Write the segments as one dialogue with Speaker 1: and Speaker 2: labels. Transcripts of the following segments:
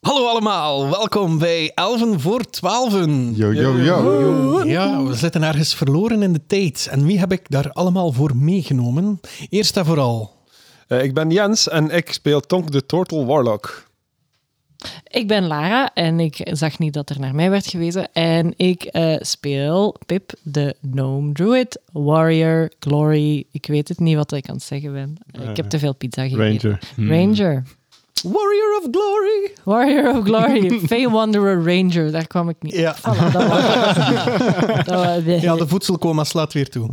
Speaker 1: Hallo allemaal, welkom bij Elven voor Twaalfen.
Speaker 2: Yo, yo, yo.
Speaker 1: Ja, we zitten ergens verloren in de tijd. En wie heb ik daar allemaal voor meegenomen? Eerst en vooral.
Speaker 3: Eh, ik ben Jens en ik speel Tonk de Turtle Warlock.
Speaker 4: Ik ben Lara en ik zag niet dat er naar mij werd gewezen. En ik eh, speel Pip, de Gnome Druid, Warrior, Glory. Ik weet het niet wat ik aan het zeggen ben. ik heb te veel pizza gegeten.
Speaker 2: Ranger.
Speaker 4: Ranger.
Speaker 1: Warrior of Glory.
Speaker 4: Warrior of Glory. Fey Wanderer Ranger. Daar kwam ik niet.
Speaker 1: Ja.
Speaker 4: Voilà, dat was het. Dat was-
Speaker 1: Ja, de voedselcoma slaat weer toe.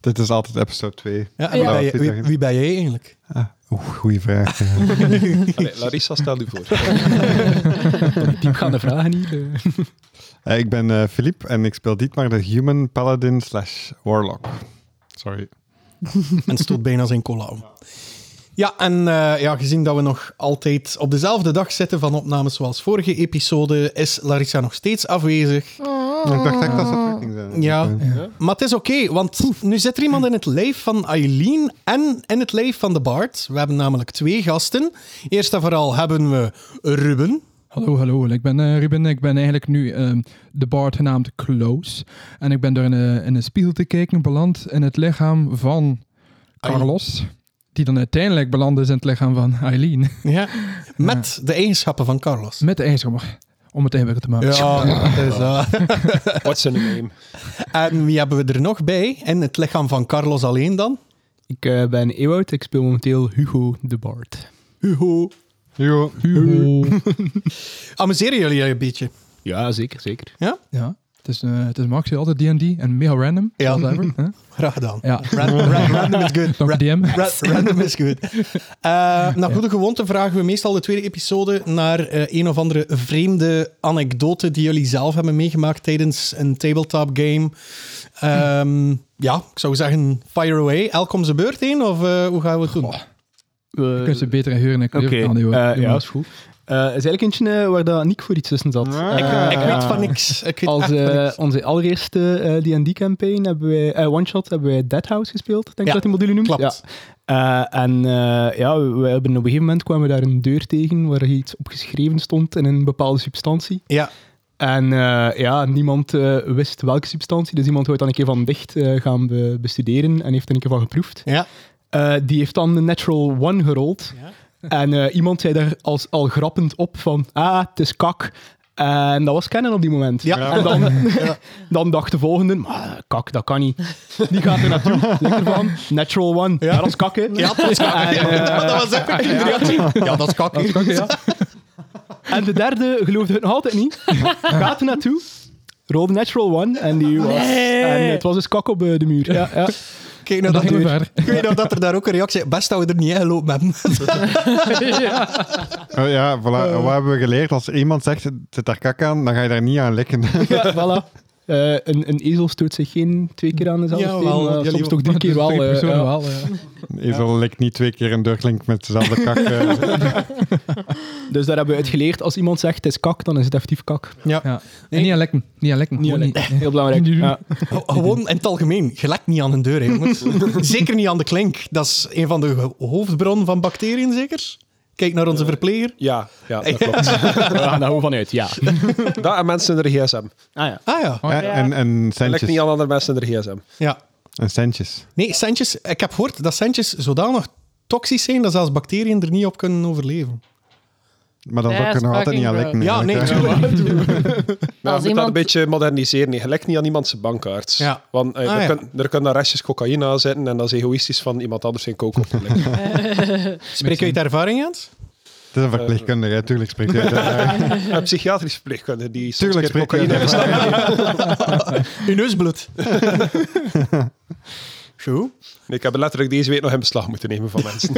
Speaker 2: Dit is altijd episode 2.
Speaker 1: Ja, en wie,
Speaker 2: Ja.
Speaker 1: Ben jij, wie- wie ben jij eigenlijk?
Speaker 2: Oeh, goeie vraag. ja.
Speaker 3: Allee, Larissa, stel u voor.
Speaker 5: Diepgaande vragen hier.
Speaker 2: Eh, ik ben eh, Philippe en ik speel Dietmar de Human Paladin slash Warlock. Sorry.
Speaker 1: En stoot bijna zijn cola om. Ja, en eh, ja, gezien dat we nog altijd op dezelfde dag zitten van opnames zoals vorige episode, is Larissa nog steeds afwezig.
Speaker 2: Ik dacht echt dat ze terug ging zijn.
Speaker 1: Ja, maar het is oké, want nu zit er iemand in het lijf van Eileen en in het lijf van de Bart. We hebben namelijk twee gasten. Eerst en vooral hebben we Ruben.
Speaker 5: Hallo, hallo. Ik ben eh, Ruben. Ik ben eigenlijk nu ehm, de bard genaamd Close. En ik ben door in een, in een spiegel te kijken beland in het lichaam van Carlos. Die dan uiteindelijk beland is in het lichaam van Eileen.
Speaker 1: Ja. Met de eigenschappen van Carlos.
Speaker 5: Met de ijzermer. Om het eeuwig te maken.
Speaker 1: Ja, dat is dat.
Speaker 3: What's in a name?
Speaker 1: En wie hebben we er nog bij? In het lichaam van Carlos alleen dan?
Speaker 6: Ik eh, ben Ewout, ik speel momenteel Hugo de Bard.
Speaker 1: Hugo.
Speaker 2: Yo.
Speaker 5: Hugo.
Speaker 1: Amuseren jullie je een beetje?
Speaker 6: Ja, zeker, zeker.
Speaker 5: Ja. Het is, eh het is Maxi, altijd D&D en mega random.
Speaker 1: Ja.
Speaker 5: Ja. Ever, hè?
Speaker 1: Graag gedaan.
Speaker 5: ja.
Speaker 1: Random, ra- random is good.
Speaker 5: Dank
Speaker 1: Ra-
Speaker 5: DM.
Speaker 1: ra- random is good. Eh naar goede gewoonte vragen we meestal de tweede episode naar eh, een of andere vreemde anekdote die jullie zelf hebben meegemaakt tijdens een tabletop game. Ehm, ja, ik zou zeggen, fire away. Elk om zijn beurt heen, of eh, hoe gaan we het doen?
Speaker 6: Eh,
Speaker 5: Je kunt ze beter in huren en
Speaker 6: Oké,
Speaker 5: kleur vertalen, joh.
Speaker 6: eh, ja,
Speaker 5: Ja.
Speaker 6: is goed. Eh, is eigenlijk eentje eh, waar dat Nick voor iets tussen zat.
Speaker 2: Ah.
Speaker 6: Eh,
Speaker 1: ik weet van niks. Ik weet
Speaker 6: Als
Speaker 1: echt van
Speaker 6: eh,
Speaker 1: niks.
Speaker 6: onze allereerste eh, D&D-campaign hebben wij, eh, one-shot, hebben wij Dead House gespeeld, denk ik
Speaker 1: Ja,
Speaker 6: dat die module noemt.
Speaker 1: Klopt.
Speaker 6: Ja. Eh, en eh, ja, we, we hebben op een gegeven moment kwamen we daar een deur tegen waar iets op geschreven stond in een bepaalde substantie.
Speaker 1: Ja.
Speaker 6: En eh, ja, niemand eh, wist welke substantie, dus iemand wou het dan een keer van dicht eh, gaan be- bestuderen en heeft er een keer van geproefd.
Speaker 1: Ja.
Speaker 6: Eh, die heeft dan een natural one gerold. En eh, iemand zei daar als, al grappend op van, ah, het is kak. En dat was kennen op die moment.
Speaker 1: Ja.
Speaker 6: En dan, dan dacht de volgende, maar kak, dat kan niet. Die gaat er naartoe, denkt ervan, natural one, ja. dat is kak, hè.
Speaker 1: Ja, dat is kak.
Speaker 6: En, eh,
Speaker 1: Maar dat was ook een reactie. Ja, dat is kak.
Speaker 5: Dat is ook, ja.
Speaker 6: en de derde geloofde het nog altijd niet. Gaat er naartoe, rolde natural one en die was... En het was dus kak op eh, de muur. Ja, ja.
Speaker 1: Kijk naar
Speaker 5: En dan
Speaker 1: dat
Speaker 5: gingen we
Speaker 1: deur.
Speaker 5: verder.
Speaker 1: Ik weet nog dat er daar ook een reactie... Best dat we er niet in gelopen hebben.
Speaker 2: Oh, ja, voilà. Wat hebben we geleerd? Als er iemand zegt, het zit daar kak aan, dan ga je daar niet aan likken.
Speaker 6: Ja, voilà. Eh, een, een ezel stoot zich geen twee keer aan dezelfde
Speaker 1: Jawel,
Speaker 6: steen, maar
Speaker 1: want jullie-
Speaker 6: soms toch drie keer wel.
Speaker 5: Drie
Speaker 6: eh,
Speaker 5: personen
Speaker 6: ja.
Speaker 5: wel, ja.
Speaker 2: Ezel likt niet twee keer een deurklink met dezelfde kak. eh.
Speaker 6: Dus daar hebben we uit geleerd. Als iemand zegt het is kak, dan is het effectief kak.
Speaker 5: Ja. En niet aan lekken. Niet aan lekken. Gewoon
Speaker 6: Niet
Speaker 5: niet.
Speaker 6: Heel belangrijk.
Speaker 5: Niet doen.
Speaker 6: Ja.
Speaker 1: Ge- Oh, Gewoon in het algemeen. Gelek niet aan een deur, hè, jongens. Zeker niet aan de klink. Dat is een van de ho- hoofdbronnen van bacteriën, zeker? Kijk naar onze verpleger.
Speaker 3: Ja, ja, dat klopt.
Speaker 6: We gaan daar gewoon vanuit, ja.
Speaker 3: Dat en mensen in de gsm.
Speaker 6: Ah, ja.
Speaker 1: Ah ja.
Speaker 2: Ja, en, en
Speaker 3: Dat lijkt niet
Speaker 2: centjes.
Speaker 3: aan andere mensen in de gsm.
Speaker 1: ja.
Speaker 2: En centjes.
Speaker 1: Nee, centjes... Ik heb gehoord dat centjes zodanig toxisch zijn dat zelfs bacteriën er niet op kunnen overleven.
Speaker 2: Maar dan zou ik er
Speaker 4: That's
Speaker 2: nog altijd niet aan
Speaker 4: fucking
Speaker 2: likken.
Speaker 1: Ja, nee,
Speaker 2: eigenlijk, hè.
Speaker 1: natuurlijk.
Speaker 3: Maar
Speaker 4: Als
Speaker 3: we moeten dat
Speaker 4: iemand-
Speaker 3: een beetje moderniseren. Nee. Je lekt niet aan iemand zijn bankkaart.
Speaker 1: Ja.
Speaker 3: Want eh,
Speaker 1: Ah,
Speaker 3: er,
Speaker 1: ja.
Speaker 3: kun- er kunnen daar restjes cocaïne aan zitten en dat is egoïstisch van iemand anders zijn kook op te likken.
Speaker 1: Spreek je uit ervaring, Jens?
Speaker 2: Het is een verpleegkundige, hè. tuurlijk spreekt hij.
Speaker 3: Een psychiatrisch verpleegkundige die soms
Speaker 2: Tuurlijk
Speaker 3: keer
Speaker 2: spreekt hij.
Speaker 3: cocaïne
Speaker 2: uit
Speaker 3: heeft.
Speaker 2: ervaring.
Speaker 1: Uw neusbloed. Goed.
Speaker 3: Nee, Ik heb letterlijk deze week nog in beslag moeten nemen van mensen.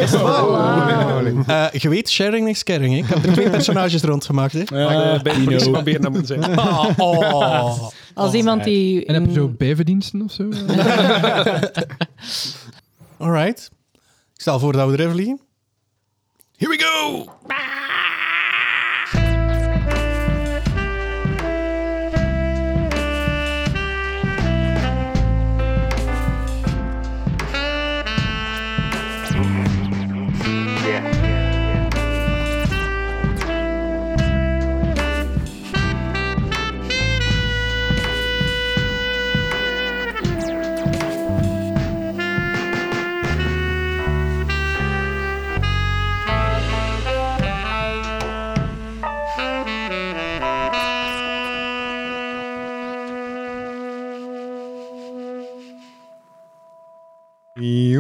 Speaker 1: Eh, je weet, sharing is caring. Hè? Ik heb er twee personages rondgemaakt. Hè?
Speaker 6: Eh,
Speaker 3: Maar ik ben eh, bij de politie proberen dat moeten zijn.
Speaker 1: Ah, oh.
Speaker 4: Als iemand die...
Speaker 5: En heb je zo bijverdiensten of zo?
Speaker 1: Alright. Ik stel voor dat we erin vliegen.
Speaker 3: Here we go!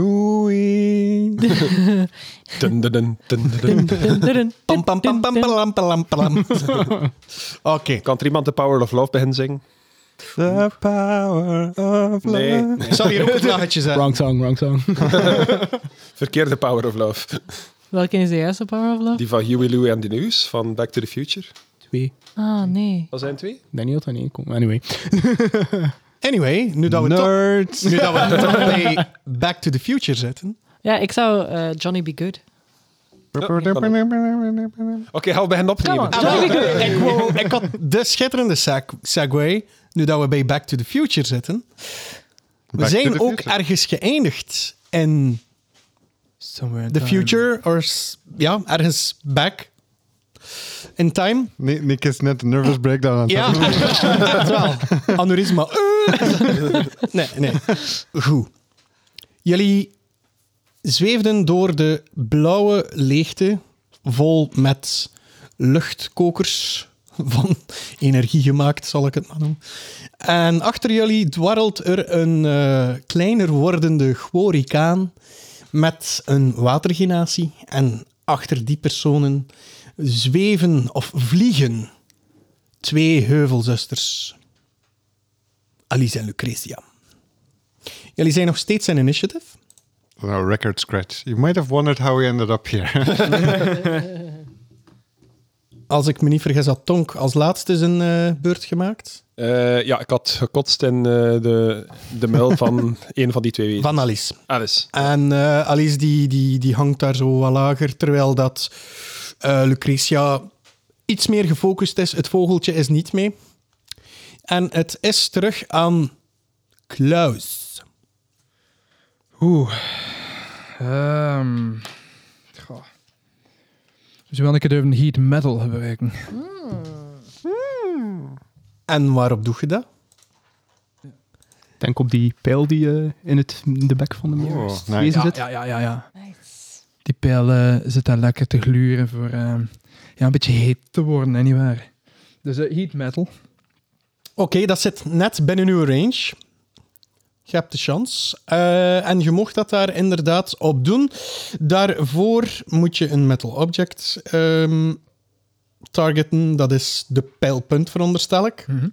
Speaker 2: Joei.
Speaker 3: Dun, dun, dun, dun, dun, dun.
Speaker 1: Pam, pam, pam, pam, palam, palam, palam. Oké.
Speaker 3: Kan er iemand de Power of Love beginnen zingen?
Speaker 2: The power of
Speaker 3: Nee.
Speaker 2: love.
Speaker 1: Ik zal hier ook een vlaggetje zetten.
Speaker 6: Wrong song, wrong song.
Speaker 3: Verkeerde Power of Love.
Speaker 4: Welke is de juiste Power of Love?
Speaker 3: Die van Huey, Lou en de News van Back to the Future.
Speaker 6: Twee.
Speaker 4: Ah, nee.
Speaker 3: Dat zijn twee.
Speaker 6: Ik denk niet dat dat in één komt. Anyway.
Speaker 1: Anyway, nu dat we toch
Speaker 2: Nerds.
Speaker 1: nu dat we toch bij Back to the Future zitten.
Speaker 4: Ja, ik zou eh, Johnny Be Good.
Speaker 3: Oké, gaan we beginnen opnemen.
Speaker 4: Come on. Johnny Be Good.
Speaker 1: Ik, wou, ik had de schitterende seg- segue, nu dat we bij Back to the Future zitten. We
Speaker 2: Back to
Speaker 1: zijn
Speaker 2: the
Speaker 1: ook
Speaker 2: future.
Speaker 1: ergens geëindigd in
Speaker 6: Somewhere
Speaker 1: the future, or s- ja, ergens back in time.
Speaker 2: Nee, Nick is net een nervous breakdown aan het
Speaker 1: Ja,
Speaker 2: hebben.
Speaker 1: dat wel. Aneurysma. eh. nee, nee. Goed. Jullie zweefden door de blauwe leegte, vol met luchtkokers van energie gemaakt, zal ik het maar noemen. En achter jullie dwarrelt er een eh, kleiner wordende chorikaan met een watergenatie. En achter die personen zweven of vliegen twee heuvelzusters. Alice en Lucretia. Jullie zijn nog steeds in initiative.
Speaker 2: Nou, record scratch. You might have wondered how we ended up here.
Speaker 1: Als ik me niet vergis, had Tonk als laatste zijn eh, beurt gemaakt.
Speaker 3: Eh, ja, ik had gekotst in eh, de, de muil van een van die twee Ah, dus. wezens.
Speaker 1: Van Alice.
Speaker 3: Alice.
Speaker 1: En eh, Alice die, die, die hangt daar zo wat lager, terwijl dat eh, Lucretia iets meer gefocust is. Het vogeltje is niet mee. En het is terug aan Klaus.
Speaker 5: Oeh. Ehm. goh. Dus wel een keer durven heat metal gebruiken.
Speaker 1: En waarop doe je dat?
Speaker 6: Denk op die pijl die eh, in, het, in de bek van de muur
Speaker 2: Oh,
Speaker 6: is-
Speaker 2: nice.
Speaker 6: wezen
Speaker 5: Ja,
Speaker 6: zit.
Speaker 5: ja, ja, ja, ja.
Speaker 4: Nice.
Speaker 5: Die pijl eh, zit daar lekker te gluren voor ehm, ja, een beetje heet te worden, hè, nietwaar? Dus eh, heat metal.
Speaker 1: Oké, dat zit net binnen uw range. Je hebt de chance. Eh, en je mocht dat daar inderdaad op doen. Daarvoor moet je een metal object ehm, targeten. Dat is de pijlpunt, veronderstel ik.
Speaker 5: Mhm.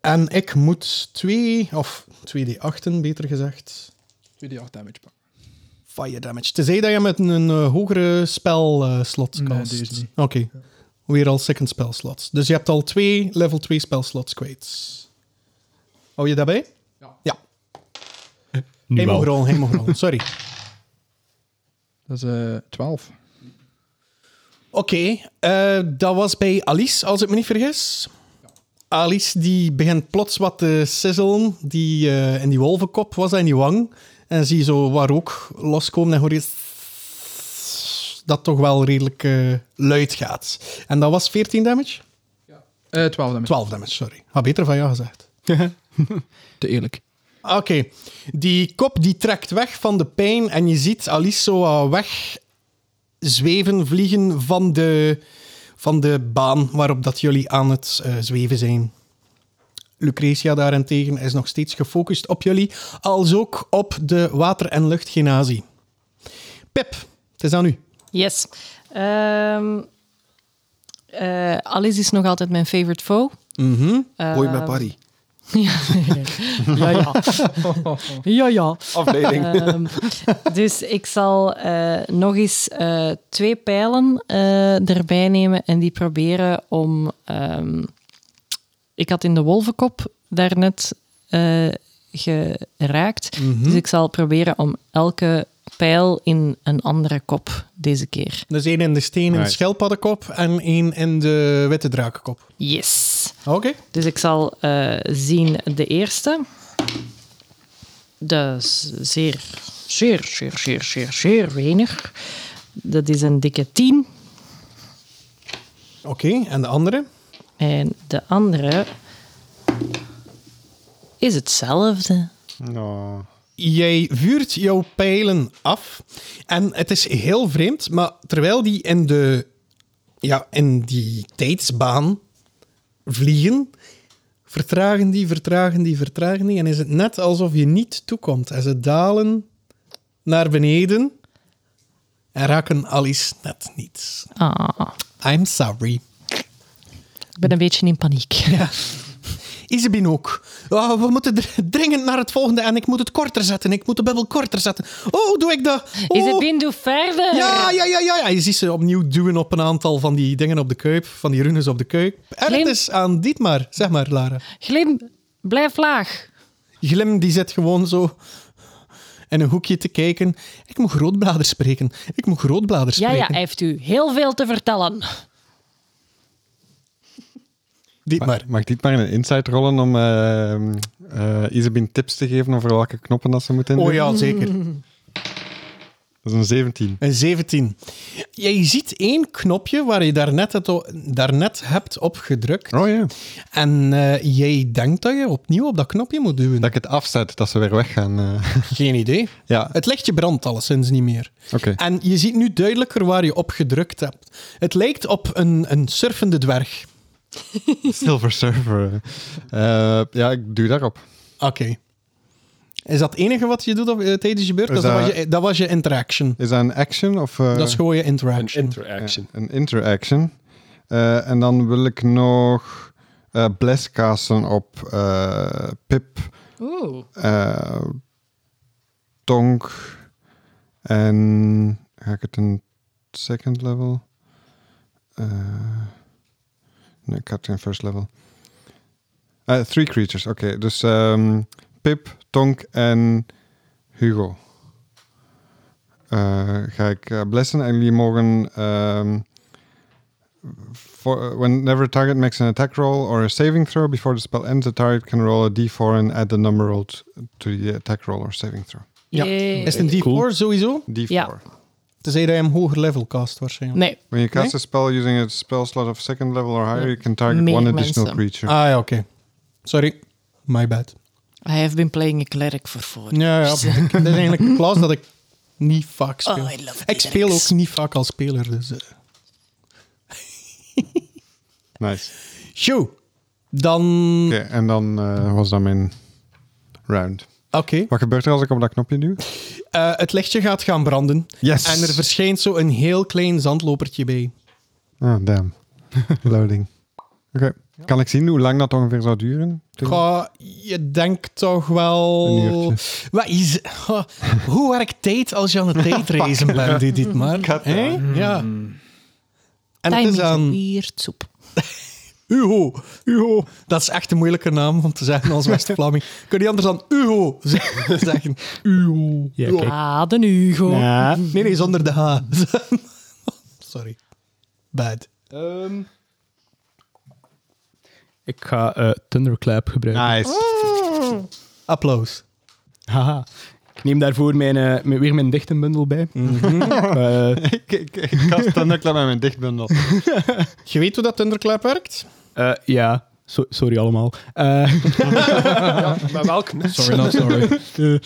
Speaker 1: En ik moet twee, of 2d8'en beter gezegd,
Speaker 5: 2d8 damage pak.
Speaker 1: fire damage. Tenzij dat je met een, eh, hogere spelslot
Speaker 5: Nee,
Speaker 1: cast.
Speaker 5: deze niet.
Speaker 1: Oké, weer al second spelslots. Dus je hebt al twee level 2 spelslots kwijt. Hou je daarbij? Ja. ja.
Speaker 6: Nu
Speaker 1: Hij
Speaker 6: wel.
Speaker 1: mag rollen, hij mag rollen. Sorry.
Speaker 5: Dat is eh 12.
Speaker 1: Oké, eh, dat was bij Alice, als ik me niet vergis. Alice die begint plots wat te sizzelen. Die, eh, in die wolvenkop was dat, in die wang. En zie je zo waar ook loskomen en hoor je... Dat toch wel redelijk eh, luid gaat. En dat was 14 damage?
Speaker 5: Eh 12 damage.
Speaker 1: 12 damage, sorry. Had beter van jou gezegd.
Speaker 5: Te eerlijk.
Speaker 1: Ah, Oké, die kop die trekt weg van de pijn en je ziet Alice zo wat weg zweven, vliegen van de, van de baan waarop dat jullie aan het eh, zweven zijn. Lucretia daarentegen is nog steeds gefocust op jullie, als ook op de water- en luchtgenazie. Pip, het is aan u.
Speaker 4: Yes. Ehm, eh, Alice is nog altijd mijn favorite foe.
Speaker 3: Boy, my buddy.
Speaker 4: Ja, ja. ja. ja, ja.
Speaker 3: Afleiding.
Speaker 4: Ehm, dus ik zal eh, nog eens eh, twee pijlen eh, erbij nemen en die proberen om. ehm, ik had in de wolvenkop daarnet eh geraakt. Dus ik zal proberen om elke pijl in een andere kop deze keer.
Speaker 1: Dus één in de steen in de
Speaker 2: Nice.
Speaker 1: schelpaddenkop en één in de witte drakenkop.
Speaker 4: Yes!
Speaker 1: Oké.
Speaker 4: Dus ik zal eh, zien de eerste. Dat is zeer, zeer, zeer, zeer, zeer, zeer weinig. Dat is een dikke 10.
Speaker 1: Oké, en de andere?
Speaker 4: En de andere is hetzelfde.
Speaker 2: Oh.
Speaker 1: Jij vuurt jouw pijlen af. En het is heel vreemd, maar terwijl die in, de, ja, in die tijdsbaan vliegen, vertragen die, vertragen die, vertragen die. En is het net alsof je niet toekomt. En ze dalen naar beneden en raken Alice net niet.
Speaker 4: Ah,
Speaker 1: I'm sorry.
Speaker 4: ik ben een beetje in paniek.
Speaker 1: Ja. Isabine ook. Ah, we moeten dr- dringend naar het volgende en ik moet het korter zetten. Ik moet de bubbel korter zetten. Oh, doe ik dat? Oh.
Speaker 4: Is het Bindu verder?
Speaker 1: Ja, ja, ja, ja, ja. Je ziet ze opnieuw duwen op een aantal van die dingen op de kuip, van die runes op de kuip. En het
Speaker 4: Glim.
Speaker 1: is aan Dietmar, zeg maar, Lara.
Speaker 4: Glim, blijf laag.
Speaker 1: Glim die zit gewoon zo in een hoekje te kijken. Ik moet grootblader spreken. Ik moet grootblader
Speaker 4: Ja,
Speaker 1: spreken.
Speaker 4: ja, hij heeft u heel veel te vertellen.
Speaker 1: Dietmar.
Speaker 2: Mag dit maar in een insight rollen om eh, eh, Isabine tips te geven over welke knoppen dat ze moet in?
Speaker 1: Oh
Speaker 4: Mm.
Speaker 1: ja, zeker.
Speaker 2: Dat is een 17.
Speaker 1: Een 17. Jij ziet één knopje waar je daarnet, het o- daarnet hebt op gedrukt.
Speaker 2: Oh ja.
Speaker 1: En eh, jij denkt dat je opnieuw op dat knopje moet duwen.
Speaker 2: Dat ik het afzet, dat ze weer weggaan. eh.
Speaker 1: Geen idee.
Speaker 2: ja, eh,
Speaker 1: Het lichtje brandt alleszins niet meer.
Speaker 2: oké.
Speaker 1: En je ziet nu duidelijker waar je op gedrukt hebt. Het lijkt op een, een surfende dwerg.
Speaker 2: Silver Surfer. Eh, ja, ik duw daarop.
Speaker 1: Oké. Is dat het enige wat je doet op, eh, tijdens je beurt?
Speaker 2: Is
Speaker 1: Dat,
Speaker 2: dat-
Speaker 1: was je, dat was je interaction.
Speaker 2: Is dat een action of... eh,
Speaker 1: dat is gewoon je
Speaker 3: Een
Speaker 1: interaction.
Speaker 3: interaction.
Speaker 2: Ja, een interaction. Eh, en dan wil ik nog eh bless casten op eh, Pip,
Speaker 4: Oeh.
Speaker 2: eh, Tonk en ga ik het een second level? Eh, nee, ik had het in first level. Eh, three creatures, oké. Dus ehm, Pip, Tonk en Hugo. Eh, ga ik eh, blessen en jullie mogen... ehm, for, uh, whenever a target makes an attack roll or a saving throw before the spell ends, the target can roll a d4 and add the number rolled to the attack roll or saving throw.
Speaker 1: Ja.
Speaker 4: Yay.
Speaker 1: Is het een D4
Speaker 6: Cool.
Speaker 1: sowieso?
Speaker 2: D4.
Speaker 4: Ja.
Speaker 1: Tenzij dat je hem hoger level cast waarschijnlijk.
Speaker 4: Nee,
Speaker 2: When you cast
Speaker 1: Nee?
Speaker 2: a spell using a spell slot of second level or higher,
Speaker 4: Ja.
Speaker 2: you can target
Speaker 4: Meer
Speaker 2: one additional
Speaker 4: mensen.
Speaker 2: creature.
Speaker 1: Ah ja, oké. Sorry. My bad.
Speaker 4: I have been playing a cleric for four.
Speaker 1: Ja, ja. ik- dat is eigenlijk een klas dat ik niet vaak speel.
Speaker 4: Oh, I love
Speaker 1: ik speel ook
Speaker 4: lyrics.
Speaker 1: niet vaak als speler, dus... eh.
Speaker 2: Nice.
Speaker 1: Sjoe. Dan...
Speaker 2: Oké, en dan eh, was dat mijn round.
Speaker 1: Oké.
Speaker 2: Wat gebeurt er als ik op dat knopje duw?
Speaker 1: Eh, het lichtje gaat gaan branden.
Speaker 2: Yes.
Speaker 1: En er verschijnt zo een heel klein zandlopertje bij.
Speaker 2: Oh, damn. Loading. Oké. Kan ik zien hoe lang dat ongeveer zou duren?
Speaker 1: Goh, je denkt toch wel...
Speaker 2: Een uurtje.
Speaker 1: Wat is... Goh, hoe werkt tijd als je aan het tijdreizen bent, dit, dit maar? Hè? Ja. En het
Speaker 4: Time
Speaker 1: is
Speaker 4: is
Speaker 1: aan...
Speaker 4: weird soep.
Speaker 1: Uho, Uho. Dat is echt een moeilijke naam om te zeggen als West-Vlaming. Kun je anders dan Uho ze- zeggen? Uho.
Speaker 6: Ja,
Speaker 1: Uho.
Speaker 6: kijk.
Speaker 4: Ah, de Hugo.
Speaker 6: Ja.
Speaker 1: Nee, nee, zonder de H. Sorry. Bad.
Speaker 6: Ehm, ik ga eh, Thunderclap gebruiken.
Speaker 2: Nice.
Speaker 1: Applaus.
Speaker 6: Haha. Ik neem daarvoor mijn, eh, mijn- weer mijn dichtenbundel bij.
Speaker 1: Mhm.
Speaker 6: Eh,
Speaker 2: ik, ik, ik kast Thunderclap met mijn dichtbundel.
Speaker 1: Je weet hoe dat Thunderclap werkt?
Speaker 6: eh, ja, So- sorry allemaal. Eh,
Speaker 3: Maar welk
Speaker 5: Sorry, not sorry.
Speaker 6: eh,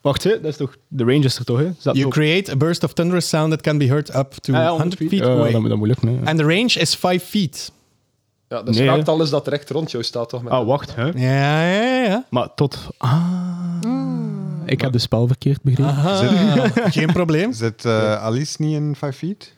Speaker 6: wacht, hè, dat is toch... De range is er toch, hè? Is dat
Speaker 1: You
Speaker 6: toch-
Speaker 1: create a burst of thunderous sound that can be heard up to
Speaker 6: Ah, ja,
Speaker 1: 100 feet
Speaker 6: Eh,
Speaker 1: away.
Speaker 6: dat, moet- dat moet lukken, hè.
Speaker 1: And the range is 5 feet.
Speaker 3: Ja, dat
Speaker 6: Nee,
Speaker 3: raakt
Speaker 6: hè.
Speaker 3: alles dat recht rond jou staat, toch? Met
Speaker 6: Ah, wacht, hè.
Speaker 1: Ja, ja, ja.
Speaker 6: Maar tot... Ah, ik heb de spel verkeerd begrepen.
Speaker 1: Aha. Ah, Geen probleem.
Speaker 2: Zit eh, Alice niet in 5 feet?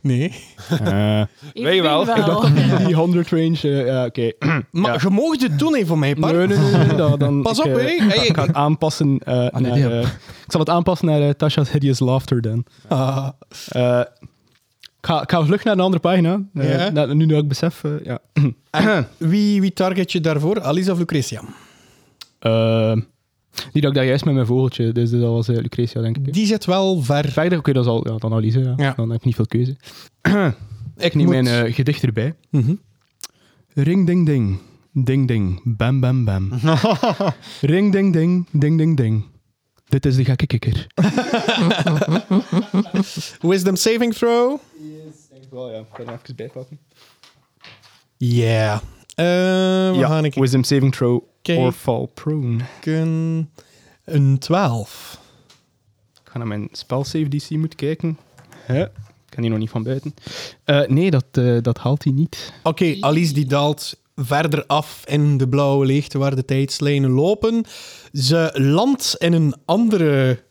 Speaker 1: Nee. Ah.
Speaker 6: Eh,
Speaker 4: Ik
Speaker 3: Wij
Speaker 4: denk
Speaker 3: wel.
Speaker 6: ik dacht die 100 range... eh, ja, oké.
Speaker 1: Maar je mag het doen, even voor mij, Park.
Speaker 6: Nee, nee, nee, nee, nee, dan- dan-
Speaker 1: Pas
Speaker 6: ik,
Speaker 1: op,
Speaker 6: eh,
Speaker 1: hè.
Speaker 6: ik ga- Ik ga het aanpassen eh,
Speaker 5: nee,
Speaker 6: naar...
Speaker 5: die heb-
Speaker 6: eh, ik zal het aanpassen naar eh, Tasha's Hideous Laughter dan.
Speaker 1: Ah.
Speaker 6: Eh, ik, ga, ik ga vlug naar een andere pagina. Eh,
Speaker 1: Ja.
Speaker 6: na- nu, nu ik besef. eh, ja.
Speaker 1: En wie, wie target je daarvoor? Alice of Lucretia?
Speaker 6: Eh, die dat ik daar juist met mijn vogeltje. Dus dat was eh, Lucretia, denk ik.
Speaker 1: Die zit wel ver.
Speaker 6: Verder, oké, dat is al ja, dan analyse. Ja.
Speaker 1: Ja.
Speaker 6: Dan heb ik niet veel keuze.
Speaker 1: Ik
Speaker 6: Ik neem
Speaker 1: moet-
Speaker 6: mijn eh, gedicht erbij.
Speaker 1: Mhm.
Speaker 6: Ring ding ding. Ding ding. Bam bam bam. Ring ding ding. Ding ding ding. Dit is de gekke kikker.
Speaker 1: Wisdom saving throw.
Speaker 6: Denk wel, ja. Ik ga er even bijpakken.
Speaker 1: Yeah. Eh we gaan
Speaker 6: Ja,
Speaker 1: ik
Speaker 6: wisdom saving throw
Speaker 1: Oké.
Speaker 6: or fall prone.
Speaker 1: kijken. Een 12.
Speaker 6: Ik ga naar mijn spelsave DC moeten kijken. Hè? Ik kan die nog niet van buiten. Eh, nee, dat, eh, dat haalt hij niet.
Speaker 1: Oké, Alice die daalt verder af in de blauwe leegte waar de tijdslijnen lopen. Ze landt in een andere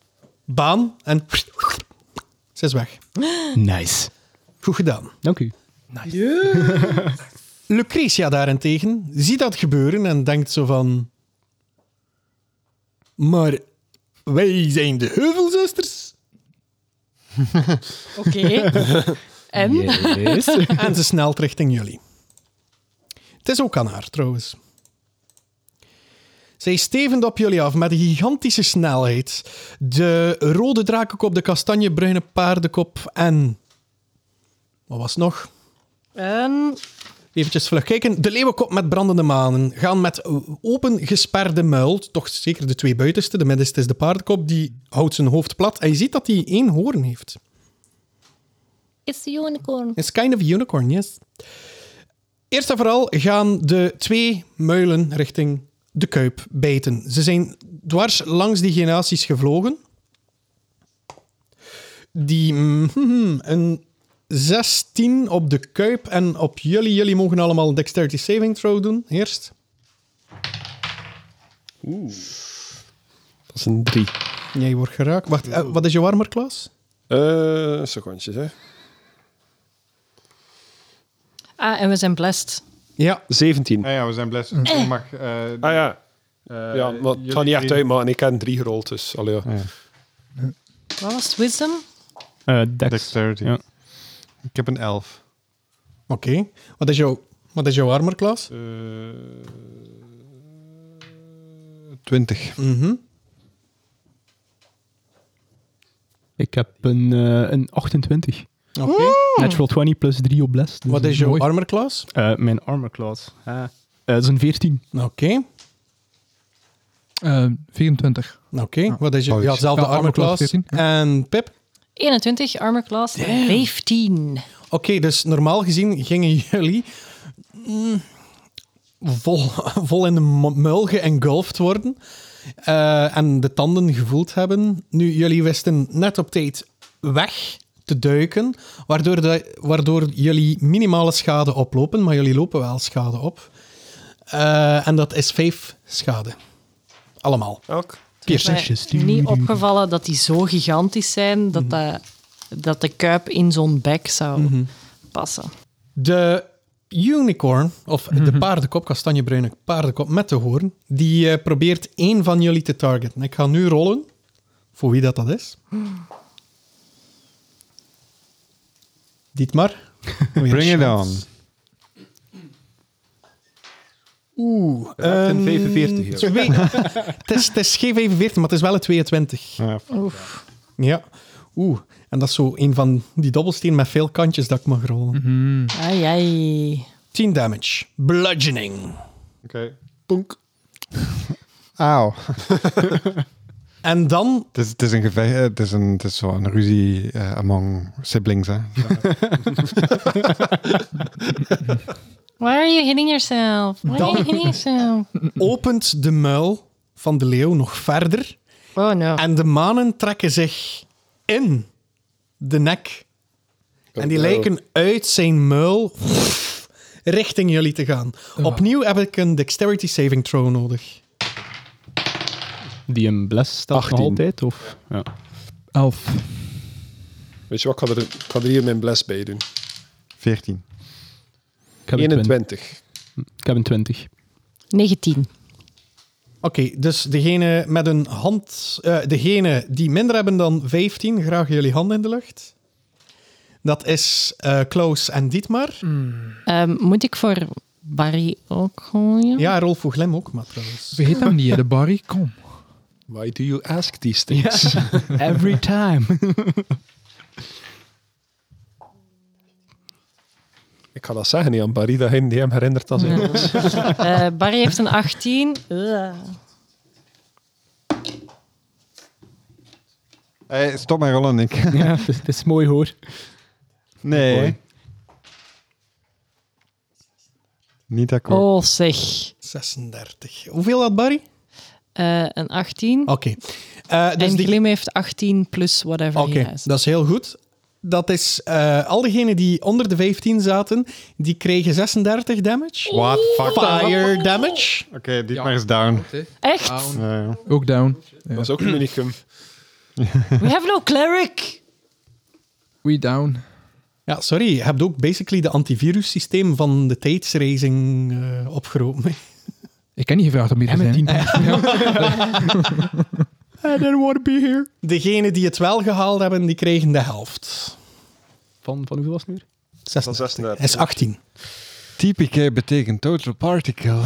Speaker 1: baan en ze is weg.
Speaker 6: Nice.
Speaker 1: Goed gedaan.
Speaker 6: Dank u.
Speaker 1: Lucretia daarentegen ziet dat gebeuren en denkt zo van... Maar wij zijn de heuvelzusters.
Speaker 4: Oké. en?
Speaker 1: En ze snelt richting jullie. Het is ook aan haar, trouwens. Zij stevend op jullie af met een gigantische snelheid. De rode drakenkop, de kastanjebruine paardenkop en... Wat was het nog?
Speaker 4: En?
Speaker 1: Eventjes vlug kijken. De leeuwenkop met brandende manen gaan met open gesperde muil, toch zeker de twee buitenste, de middenste is de paardenkop, die houdt zijn hoofd plat. En je ziet dat hij één hoorn heeft.
Speaker 4: Is de unicorn.
Speaker 1: It's kind of a unicorn, yes. Eerst en vooral gaan de twee muilen richting de kuip bijten. Ze zijn dwars langs die generaties gevlogen. Die mhm, een 16 op de kuip en op jullie. Jullie mogen allemaal een dexterity saving throw doen, eerst.
Speaker 3: Dat is een drie.
Speaker 1: Jij wordt geraakt. Wacht, eh, wat is je warmer, Klaas?
Speaker 3: Eh secondjes, hè.
Speaker 4: Ah, en we zijn blessed.
Speaker 1: Ja.
Speaker 3: 17.
Speaker 2: Ja, ja, we zijn blessed. Ik mag... eh,
Speaker 3: Ah ja.
Speaker 2: eh,
Speaker 3: Ja, maar het gaat
Speaker 2: jullie
Speaker 3: niet echt
Speaker 2: drie-
Speaker 3: uit, maar ik heb een drie gerold, dus... Allee, ja.
Speaker 2: Ah, ja.
Speaker 4: Wat was het? Wisdom?
Speaker 7: Eh, Dex.
Speaker 2: Dexterity.
Speaker 7: Ja.
Speaker 2: Ik heb een elf.
Speaker 1: Oké. Wat is jouw... Wat is jouw armor class?
Speaker 2: Twintig.
Speaker 1: Mhm.
Speaker 6: Ik heb een, eh, een 28.
Speaker 1: Oké.
Speaker 6: Natural 20 plus 3 op les. Dus
Speaker 1: Wat is jouw
Speaker 6: mooi.
Speaker 1: armor class?
Speaker 7: Eh, mijn armor class.
Speaker 6: Ah. Eh, dat is een 14.
Speaker 1: Oké.
Speaker 5: Eh, 24.
Speaker 1: Oké, wat is je?
Speaker 2: Oh,
Speaker 1: Ja,
Speaker 2: is-
Speaker 1: hetzelfde
Speaker 5: ja,
Speaker 1: armor
Speaker 5: armor class
Speaker 1: class.
Speaker 5: 14,
Speaker 1: En Pip?
Speaker 4: 21, armor class 15.
Speaker 1: Oké, dus normaal gezien gingen jullie mm, vol, vol in de mu- muil geengulfd worden eh, en de tanden gevoeld hebben. Nu, jullie wisten net op tijd weg te duiken, waardoor, de, waardoor jullie minimale schade oplopen, maar jullie lopen wel schade op. Eh, en dat is vijf schade. Allemaal.
Speaker 3: Elk.
Speaker 1: Piercing.
Speaker 4: Het is mij niet opgevallen dat die zo gigantisch zijn
Speaker 1: Mhm.
Speaker 4: dat, dat, dat de kuip in zo'n bek zou passen.
Speaker 1: De unicorn, of
Speaker 2: Mhm.
Speaker 1: de paardenkop, kastanjebruine paardenkop met de hoorn, die eh, probeert één van jullie te targeten. Ik ga nu rollen voor wie dat, dat is.
Speaker 2: Hmm.
Speaker 1: Dietmar.
Speaker 2: Bring it on.
Speaker 1: Oeh.
Speaker 2: raakt een
Speaker 1: ehm,
Speaker 2: 45 hier.
Speaker 1: twee- Het is- het is geen 45, maar het is wel een 22.
Speaker 2: Ja, f-
Speaker 1: Ja. Oeh. En dat is zo een van die dobbelsteen met veel kantjes dat ik mag rollen.
Speaker 2: Mhm.
Speaker 4: Ai, ai.
Speaker 1: 10 damage. Bludgeoning.
Speaker 2: Oké. Punk. Auw.
Speaker 1: En dan
Speaker 2: Het is, het is een gevecht, eh, het is, een, het is zo'n ruzie eh, among siblings, hè.
Speaker 4: Why are you hitting yourself? Why are you hitting yourself?
Speaker 1: opent de muil van de leeuw nog verder.
Speaker 4: Oh no.
Speaker 1: En de manen trekken zich in de nek. En die
Speaker 3: Oh, no.
Speaker 1: lijken uit zijn muil richting jullie te gaan. Opnieuw heb ik een dexterity saving throw nodig.
Speaker 7: Die een bless staat nog
Speaker 3: 18.
Speaker 7: altijd? Of? Ja.
Speaker 5: 11.
Speaker 3: Weet je wat, ik ga er, ik ga er hier mijn bless bij doen.
Speaker 2: Veertien.
Speaker 7: Ik heb, een 20.
Speaker 3: 21.
Speaker 7: ik heb een 20.
Speaker 4: 19.
Speaker 1: Oké, dus degene met een hand... eh, degene die minder hebben dan 15, graag jullie hand in de lucht. Dat is eh Klaus en Dietmar.
Speaker 4: Ehm, moet ik voor Barry ook gooien?
Speaker 1: Ja, Rolf Glem ook, maar trouwens.
Speaker 5: Vergeet hem niet, hè, de Barry. Kom.
Speaker 3: Why do you ask these things?
Speaker 6: Every time.
Speaker 3: Ik ga dat zeggen niet aan Barry, dat hij die hem herinnert als hij was.
Speaker 4: Eh, Barry heeft een 18. Ugh.
Speaker 2: Hey, stop met rollen, Nick.
Speaker 6: ja, het is, het is mooi hoor.
Speaker 2: Nee. Niet akkoord.
Speaker 4: Oh zeg.
Speaker 1: 36. Hoeveel had Barry?
Speaker 4: Eh, een 18.
Speaker 1: Oké. Eh, dus
Speaker 4: en
Speaker 1: die-
Speaker 4: Glim heeft 18 plus whatever
Speaker 1: Oké,
Speaker 4: he has.
Speaker 1: dat is heel goed. dat is eh, al diegenen die onder de 15 zaten, die kregen 36 damage.
Speaker 2: What? Fuck. Oké,
Speaker 1: Fire damage.
Speaker 2: die
Speaker 5: Ja.
Speaker 2: maar is down.
Speaker 4: Echt?
Speaker 2: Ja, ja.
Speaker 5: Ook down.
Speaker 3: Dat is ook een unicum.
Speaker 4: We have no cleric.
Speaker 5: We down.
Speaker 1: Ja, sorry. Je hebt ook basically de antivirussysteem van de tijdsracing eh, opgeroepen. hè.
Speaker 5: Ik ken niet gevraagd om hier te
Speaker 6: Damn it,
Speaker 5: zijn.
Speaker 6: I don't want to be here.
Speaker 1: Degenen die het wel gehaald hebben, die kregen de helft.
Speaker 6: Van, van hoeveel was het nu? weer?
Speaker 3: Van
Speaker 1: 36.
Speaker 3: 36.
Speaker 1: Dat is 18.
Speaker 2: TPK betekent Total Particle.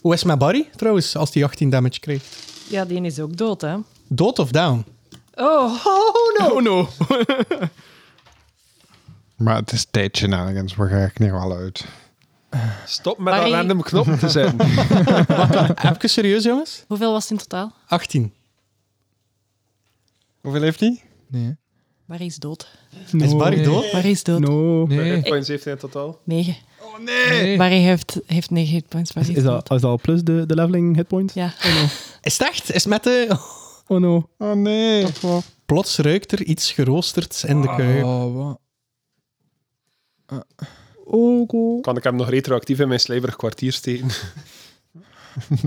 Speaker 1: Hoe is mijn body trouwens, als die 18 damage kreeg?
Speaker 4: Ja, die is ook dood, hè?
Speaker 1: Dood of down?
Speaker 4: Oh, oh no.
Speaker 6: Oh no.
Speaker 2: Maar het is stage shenanigans, we gaan er niet wel uit.
Speaker 3: Stop met
Speaker 4: Barry.
Speaker 3: een random knop te zetten.
Speaker 1: Even serieus, jongens?
Speaker 4: Hoeveel was het in totaal?
Speaker 1: 18.
Speaker 2: Hoeveel heeft hij?
Speaker 5: Nee.
Speaker 4: Barry is dood.
Speaker 1: Is Barry
Speaker 5: Nee.
Speaker 1: dood?
Speaker 4: Barry is dood.
Speaker 6: No.
Speaker 5: Nee.
Speaker 3: Points heeft hij in totaal.
Speaker 4: 9.
Speaker 5: nee.
Speaker 4: Barry heeft, heeft 9 hitpoints. Barry
Speaker 6: Is,
Speaker 4: is,
Speaker 6: is, dat,
Speaker 4: dood.
Speaker 6: is dat al plus de, de leveling hitpoint?
Speaker 4: Ja.
Speaker 1: Is het echt? Is het met de...
Speaker 6: Oh no.
Speaker 2: Oh nee.
Speaker 1: Plots ruikt er iets geroosterds in de keuken.
Speaker 5: Oh, wat.
Speaker 6: Oh go.
Speaker 3: Kan ik hem nog retroactief in mijn slijverig kwartier steken?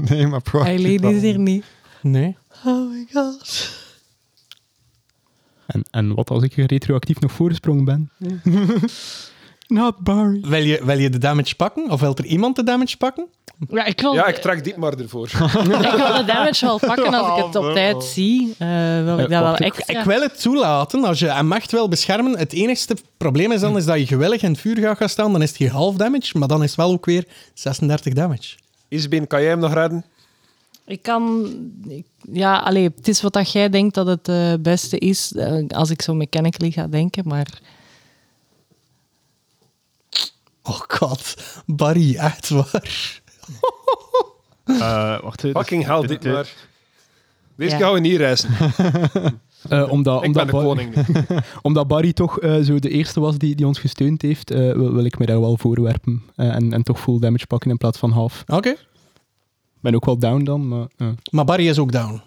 Speaker 2: Nee, maar pro.
Speaker 4: Eileen is hier niet.
Speaker 1: Nee.
Speaker 4: Oh my god.
Speaker 7: En, en wat als ik retroactief nog voorgesprongen ben?
Speaker 6: Not Barry.
Speaker 1: Wil je, wil je de damage pakken? Of wil er iemand de damage pakken?
Speaker 4: Ja, ik wil,
Speaker 3: Ja,
Speaker 4: ik...
Speaker 3: ik trek diep maar ervoor.
Speaker 4: wil de damage wel pakken als ik het op tijd zie. Eh wil
Speaker 7: Eh,
Speaker 4: ik dat wel
Speaker 7: wacht, ik-
Speaker 4: extra?
Speaker 1: Ik wil het toelaten. Als je hem echt wil beschermen. Het enige probleem is dan is dat je gewillig in het vuur gaat gaan staan. Dan is het je half damage. Maar dan is het wel ook weer 36 damage.
Speaker 3: Isbeen, kan jij hem nog redden?
Speaker 4: Ik kan... ik- ja, allee, het is wat dat jij denkt dat het eh, beste is, eh, als ik zo mechanically ga denken, maar...
Speaker 1: Oh god. Barry, echt waar.
Speaker 7: Eh wacht even.
Speaker 3: Fucking hell,
Speaker 7: dit-
Speaker 3: dit
Speaker 7: dit-
Speaker 3: maar. Deze
Speaker 4: Ja.
Speaker 3: gaan we niet reizen.
Speaker 6: Eh, omdat,
Speaker 3: Ik ben
Speaker 6: omdat,
Speaker 3: de
Speaker 6: Bar-
Speaker 3: koning nu.
Speaker 6: omdat Barry toch eh, zo de eerste was die, die ons gesteund heeft, eh, wil, wil ik mij daar wel voorwerpen. Eh, en, en toch full damage pakken in plaats van half.
Speaker 1: Oké.
Speaker 6: Ik ben ook wel down dan, maar... eh.
Speaker 1: Maar Barry is ook down.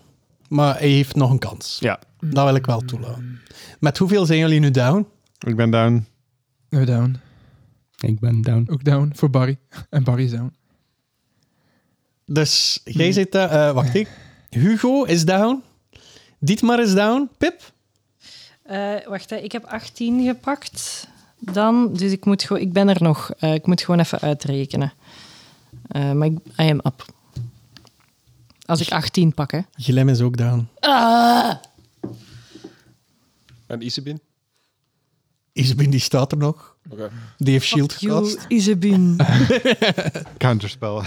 Speaker 1: Maar hij heeft nog een kans.
Speaker 7: Ja.
Speaker 1: Dat wil ik wel toelaten. Met hoeveel zijn jullie nu down?
Speaker 2: Ik ben down.
Speaker 5: We Eh, down.
Speaker 6: Ik ben down.
Speaker 5: Ook down voor Barry. En Barry is down.
Speaker 1: Dus jij zit daar. eh, wacht ik. Hugo is down. Dietmar is down. Pip?
Speaker 4: Eh, wacht, hè. ik heb 18 gepakt. Dan, dus ik, moet gewoon- ik ben er nog. Eh, ik moet gewoon even uitrekenen. Eh, maar ik, I am up. Als ik 18 pak, hè.
Speaker 1: Gilem is ook down.
Speaker 3: En Isbeen?
Speaker 1: Isbin die staat er nog.
Speaker 3: Oké.
Speaker 1: Die heeft shield
Speaker 4: You,
Speaker 1: gekast.
Speaker 4: Isabin.
Speaker 2: Counterspel.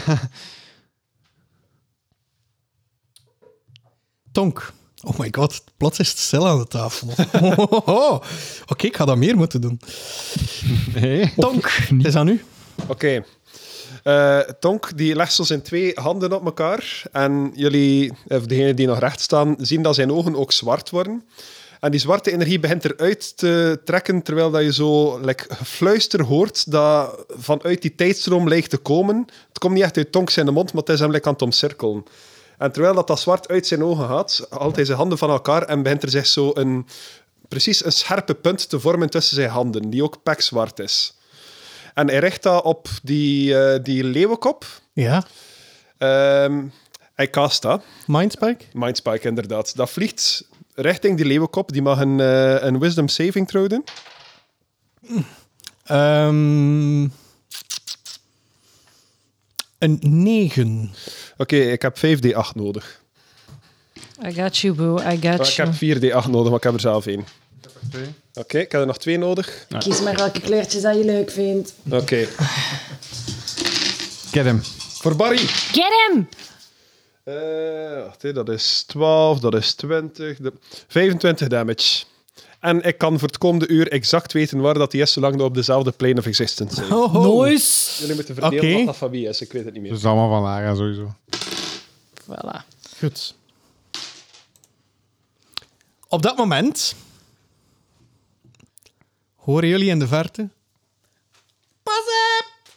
Speaker 1: Tonk. Oh my god, plots is het stil aan de tafel. Oh, oh, oh. Oké, ik ga dat meer moeten doen.
Speaker 2: Nee.
Speaker 1: Tonk, het is aan u.
Speaker 3: Oké. Eh, Tonk die legt zo zijn twee handen op elkaar. En jullie, of degenen die nog recht staan, zien dat zijn ogen ook zwart worden. En die zwarte energie begint eruit te trekken, terwijl dat je zo like, gefluister hoort dat vanuit die tijdstroom lijkt te komen. Het komt niet echt uit Tonk zijn mond, maar het is hem like, aan het omcirkelen. En terwijl dat, dat zwart uit zijn ogen gaat, haalt hij zijn handen van elkaar en begint er zich zo een, precies een scherpe punt te vormen tussen zijn handen, die ook pekzwart is. En hij richt dat op die, eh, die leeuwenkop.
Speaker 1: Ja,
Speaker 3: Ehm, hij cast dat.
Speaker 1: Mindspike?
Speaker 3: Mindspike, inderdaad. Dat vliegt richting die leeuwenkop. Die mag een, eh, een wisdom saving throw doen.
Speaker 1: Ehm, een 9.
Speaker 3: Oké, ik heb 5d8 nodig.
Speaker 4: I got you, boo. I
Speaker 3: Oh, ik
Speaker 4: got you.
Speaker 3: heb 4d8 nodig, maar ik heb er zelf één. Oké, ik heb er nog twee nodig.
Speaker 8: Kies maar welke kleurtjes dat je leuk vindt.
Speaker 3: Oké.
Speaker 2: Get him.
Speaker 3: Voor Barry.
Speaker 4: Get him!
Speaker 3: Eh, wacht, hè, dat is 12, dat is 20. de- 25 damage. En ik kan voor het komende uur exact weten waar dat die is, zolang we op dezelfde plane of existence zijn.
Speaker 1: Oh,
Speaker 4: Nice!
Speaker 3: Jullie moeten verdelen
Speaker 1: Oké.
Speaker 3: wat dat van wie is. Ik weet het niet meer.
Speaker 2: Dat is allemaal van Lara sowieso.
Speaker 4: Voilà.
Speaker 1: Goed. Op dat moment horen jullie in de verte. Pas op!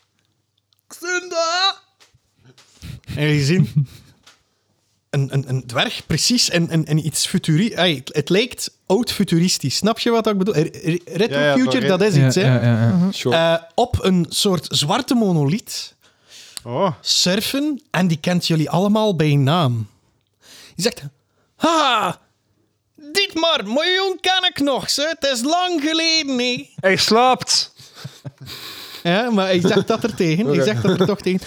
Speaker 1: Xunda! En jullie zien een, een, een dwerg precies in, in, in iets futuristisch. Het lijkt oud-futuristisch. Snap je wat ik bedoel? R- r- Retro
Speaker 3: Ja, ja,
Speaker 1: future,
Speaker 3: maar-
Speaker 1: dat is
Speaker 5: Ja,
Speaker 1: iets. hè.
Speaker 5: ja, ja, ja.
Speaker 2: Uh-huh.
Speaker 3: Sure.
Speaker 1: Eh, op een soort zwarte monoliet
Speaker 7: Oh,
Speaker 1: surfen en die kent jullie allemaal bij naam. Die zegt: Ha! Dit maar, miljoen ken ik nog, ze. Het is lang geleden, nee.
Speaker 3: Hij slaapt.
Speaker 1: Ja, maar ik zeg dat er tegen. Ik zeg dat er toch tegen.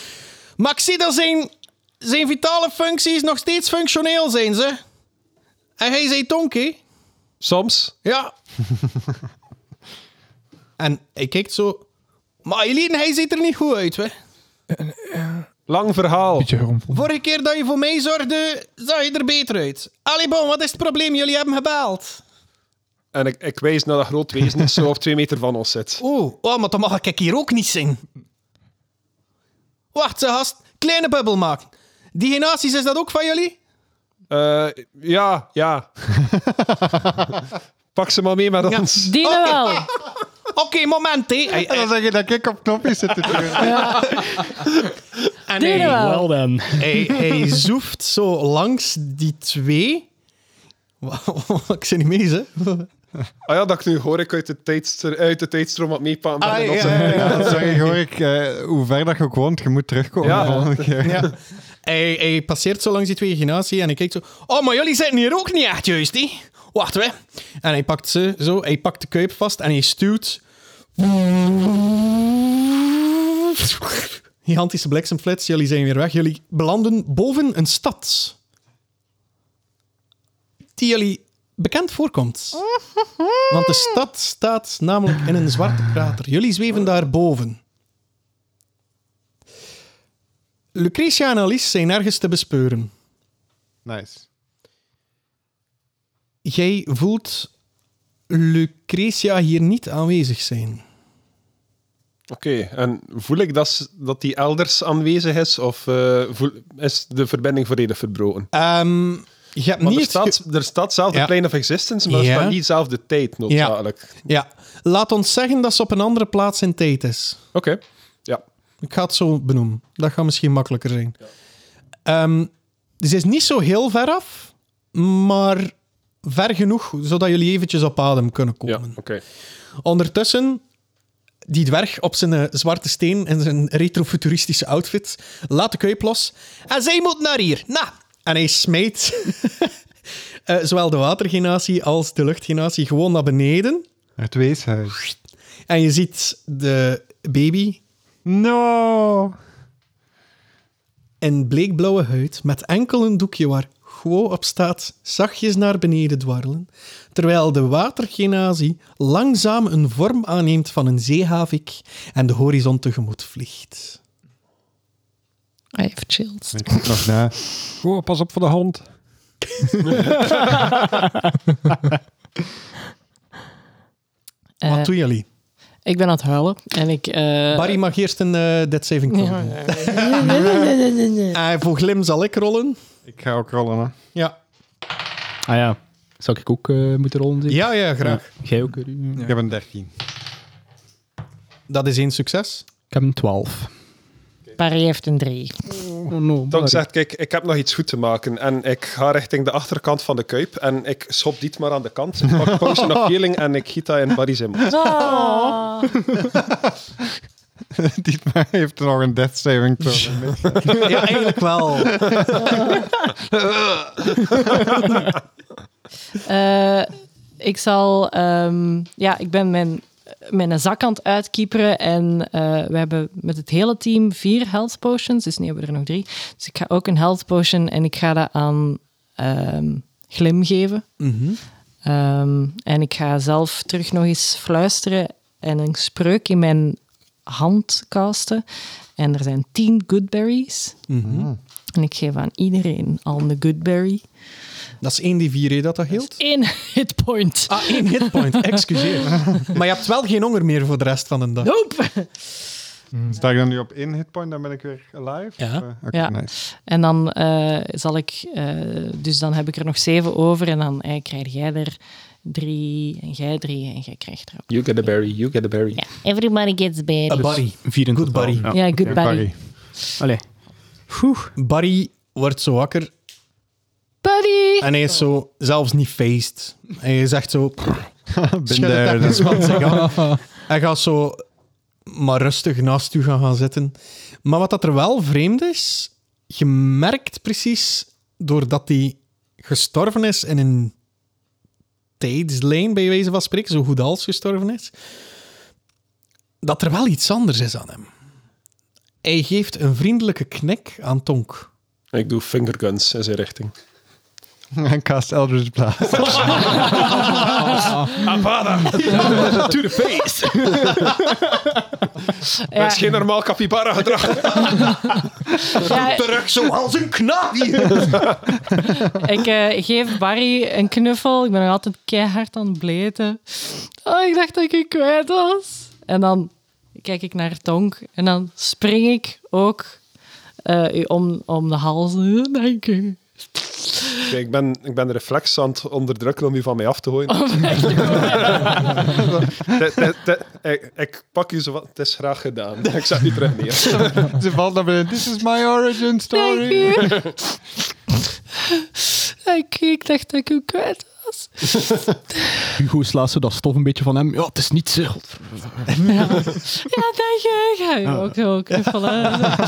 Speaker 1: Maar ik zie dat zijn, zijn vitale functies nog steeds functioneel zijn, ze. En hij zei Tonkie.
Speaker 3: Soms.
Speaker 1: Ja. en hij kijkt zo... Maar Eileen, hij ziet er niet goed uit, hè.
Speaker 3: Lang verhaal.
Speaker 5: Beetje gerompel.
Speaker 1: Vorige keer dat je voor mij zorgde, zag je er beter uit. Allee, bon, wat is het probleem? Jullie hebben gebeld.
Speaker 3: En ik, ik wijs naar dat groot wezen dat zo op twee meter van ons zit.
Speaker 1: Oeh, oh, maar dan mag ik hier ook niet zijn. Wacht, ze gast. Kleine bubbel maken. Die genaties, is dat ook van jullie?
Speaker 3: Eh, ja, ja. Pak ze maar mee met
Speaker 1: Ja.
Speaker 3: ons.
Speaker 4: Die wel.
Speaker 1: Oké, moment, hé.
Speaker 2: En dan zeg je dat ik op knopjes zit te duwen.
Speaker 1: En
Speaker 4: Die
Speaker 1: hij,
Speaker 4: wel.
Speaker 7: dan.
Speaker 1: hij, hij zoeft zo langs die twee. Wauw, ik zit niet mee, hè?
Speaker 3: Ah ja, dat ik nu hoor ik uit de, tijdstro- uit de tijdstroom wat meepakken.
Speaker 1: Ah,
Speaker 3: ben en
Speaker 1: ja,
Speaker 3: op-
Speaker 1: ja, ja.
Speaker 2: Ja, dan zeg je hoor ik, eh, hoe ver dat je ook woont, je moet terugkomen
Speaker 3: Ja.
Speaker 2: de volgende keer.
Speaker 1: Ja. Hij, hij passeert zo langs die twee generatie en hij kijkt zo... Oh, maar jullie zitten hier ook niet echt juist, hè? Wacht, hè. En hij pakt ze zo, hij pakt de kuip vast en hij stuwt... Gigantische bliksemflits, jullie zijn weer weg. Jullie belanden boven een stad. Die jullie bekend voorkomt. Want de stad staat namelijk in een zwarte krater. Jullie zweven daarboven. Lucretia en Alice zijn nergens te bespeuren.
Speaker 2: Nice.
Speaker 1: Jij voelt Lucretia hier niet aanwezig zijn.
Speaker 3: Oké, en voel ik dat, ze- dat die elders aanwezig is? Of eh, voel- is de verbinding volledig verbroken?
Speaker 1: Ehm, je hebt
Speaker 3: Want
Speaker 1: niet
Speaker 3: er
Speaker 1: het ge-
Speaker 3: staat, er staat zelf
Speaker 1: Ja.
Speaker 3: de plane of existence, maar er
Speaker 1: Ja.
Speaker 3: staat niet zelf de tijd noodzakelijk.
Speaker 1: Ja, laat ons zeggen dat ze op een andere plaats in tijd is.
Speaker 3: Oké, ja.
Speaker 1: Ik ga het zo benoemen. Dat gaat misschien makkelijker zijn. Ehm, dus het is niet zo heel ver af, maar ver genoeg zodat jullie eventjes op adem kunnen
Speaker 3: ja
Speaker 1: komen.
Speaker 3: oké.
Speaker 1: Ondertussen, die dwerg op zijn eh, zwarte steen en zijn retrofuturistische outfit laat de kuip los. En zij moet naar hier. Na! En hij smijt eh, zowel de watergenatie als de luchtgenatie gewoon naar beneden.
Speaker 2: Het weeshuis.
Speaker 1: En je ziet de baby
Speaker 2: No!
Speaker 1: in bleekblauwe huid met enkel een doekje waar gewoon op staat, zachtjes naar beneden dwarrelen, terwijl de watergenazie langzaam een vorm aanneemt van een zeehavik en de horizon tegemoet vliegt.
Speaker 4: I have chills.
Speaker 2: Ik moet nog na.
Speaker 5: Goh, pas op voor de hond.
Speaker 4: Eh,
Speaker 1: Wat doen jullie?
Speaker 4: ik ben aan het huilen. En ik... eh,
Speaker 1: Barry mag eerst een eh dead saving throw
Speaker 4: Ja.
Speaker 1: doen. Eh, voor Glim zal ik rollen.
Speaker 2: Ik ga ook rollen, hè.
Speaker 1: Ja,
Speaker 7: Ah ja. Zou ik ook eh, moeten rollen? zeker?
Speaker 1: ja, ja graag.
Speaker 7: Jij ook? Ruud?
Speaker 2: Ik heb een 13.
Speaker 1: Dat is één succes.
Speaker 7: Ik heb een 12.
Speaker 4: Barry heeft een drie.
Speaker 7: Oh no.
Speaker 3: Dan zegt, kijk, ik heb nog iets goed te maken. En ik ga richting de achterkant van de kuip. En ik schop dit maar aan de kant. Ik pak potion of healing en ik giet dat in Barry's in.
Speaker 4: Oh.
Speaker 2: Dietmar heeft nog een death saving throw.
Speaker 1: Ja, eigenlijk wel.
Speaker 4: Eh, ik zal... ehm, ja, ik ben mijn, mijn zak aan het uitkieperen. En eh, we hebben met het hele team vier health potions. Dus nu hebben we er nog drie. Dus ik ga ook een health potion. En ik ga dat aan ehm, Glim geven.
Speaker 1: Mhm.
Speaker 4: Ehm, en ik ga zelf terug nog eens fluisteren en een spreuk in mijn hand casten. En er zijn tien goodberries.
Speaker 1: Mhm.
Speaker 4: En ik geef aan iedereen al een goodberry.
Speaker 1: Dat is één die vier, hè, dat dat hield.
Speaker 4: Eén hitpoint.
Speaker 1: Ah, één hitpoint, excuseer. Maar je hebt wel geen honger meer voor de rest van de dag.
Speaker 4: Nope.
Speaker 2: Sta ik dan nu op in hitpoint, dan ben ik weer alive?
Speaker 1: Ja.
Speaker 2: Of, eh, Oké,
Speaker 4: Ja.
Speaker 2: nice.
Speaker 4: En dan eh, zal ik... eh, dus dan heb ik er nog zeven over. En dan eh, krijg jij er drie en jij drie en jij krijgt er ook.
Speaker 3: You get a berry, you get a berry.
Speaker 4: Ja, everybody gets berries.
Speaker 1: A Barry.
Speaker 7: 24.
Speaker 1: Good Barry.
Speaker 4: Ja, goodberry.
Speaker 2: Barry.
Speaker 7: Allee.
Speaker 1: Barry wordt zo wakker.
Speaker 4: Buddy!
Speaker 1: En hij is zo zelfs niet faced. Hij is echt zo...
Speaker 2: Been
Speaker 1: Schudde
Speaker 2: there,
Speaker 1: technisch wat zich af. Hij gaat zo maar rustig naast u gaan, gaan zitten. Maar wat dat er wel vreemd is, je merkt precies doordat hij gestorven is in een tijdslijn, bij wijze van spreken, zo goed als gestorven is, dat er wel iets anders is aan hem. Hij geeft een vriendelijke knik aan Tonk.
Speaker 3: Ik doe fingerguns in zijn richting.
Speaker 2: En cast Eldritch Blast.
Speaker 3: To the face! Dat is geen normaal capybara gedrag.
Speaker 4: Ja,
Speaker 1: Terug zoals een knaap.
Speaker 4: ik eh, geef Barry een knuffel. Ik ben nog altijd keihard aan het bleten. Oh, ik dacht dat ik je kwijt was. En dan kijk ik naar Tonk. En dan spring ik ook eh, u om, om de hals. Eh, Dank u.
Speaker 3: Kijk, ik, ben, ik ben de reflex aan het onderdrukken om je van mij af te gooien. Te- te- te- ik, ik pak je zo wat. Het is graag gedaan. Ik zet je terug neer.
Speaker 2: Ze valt naar beneden. This is my origin
Speaker 4: Dank
Speaker 2: story.
Speaker 4: u. Dank u. Ik dacht dat ik u kwijt was.
Speaker 6: Hugo slaat zo dat stof een beetje van hem. Ja, het is niet zicht.
Speaker 4: Ja, dank je. Ga je ook zo knuffelen. Ah,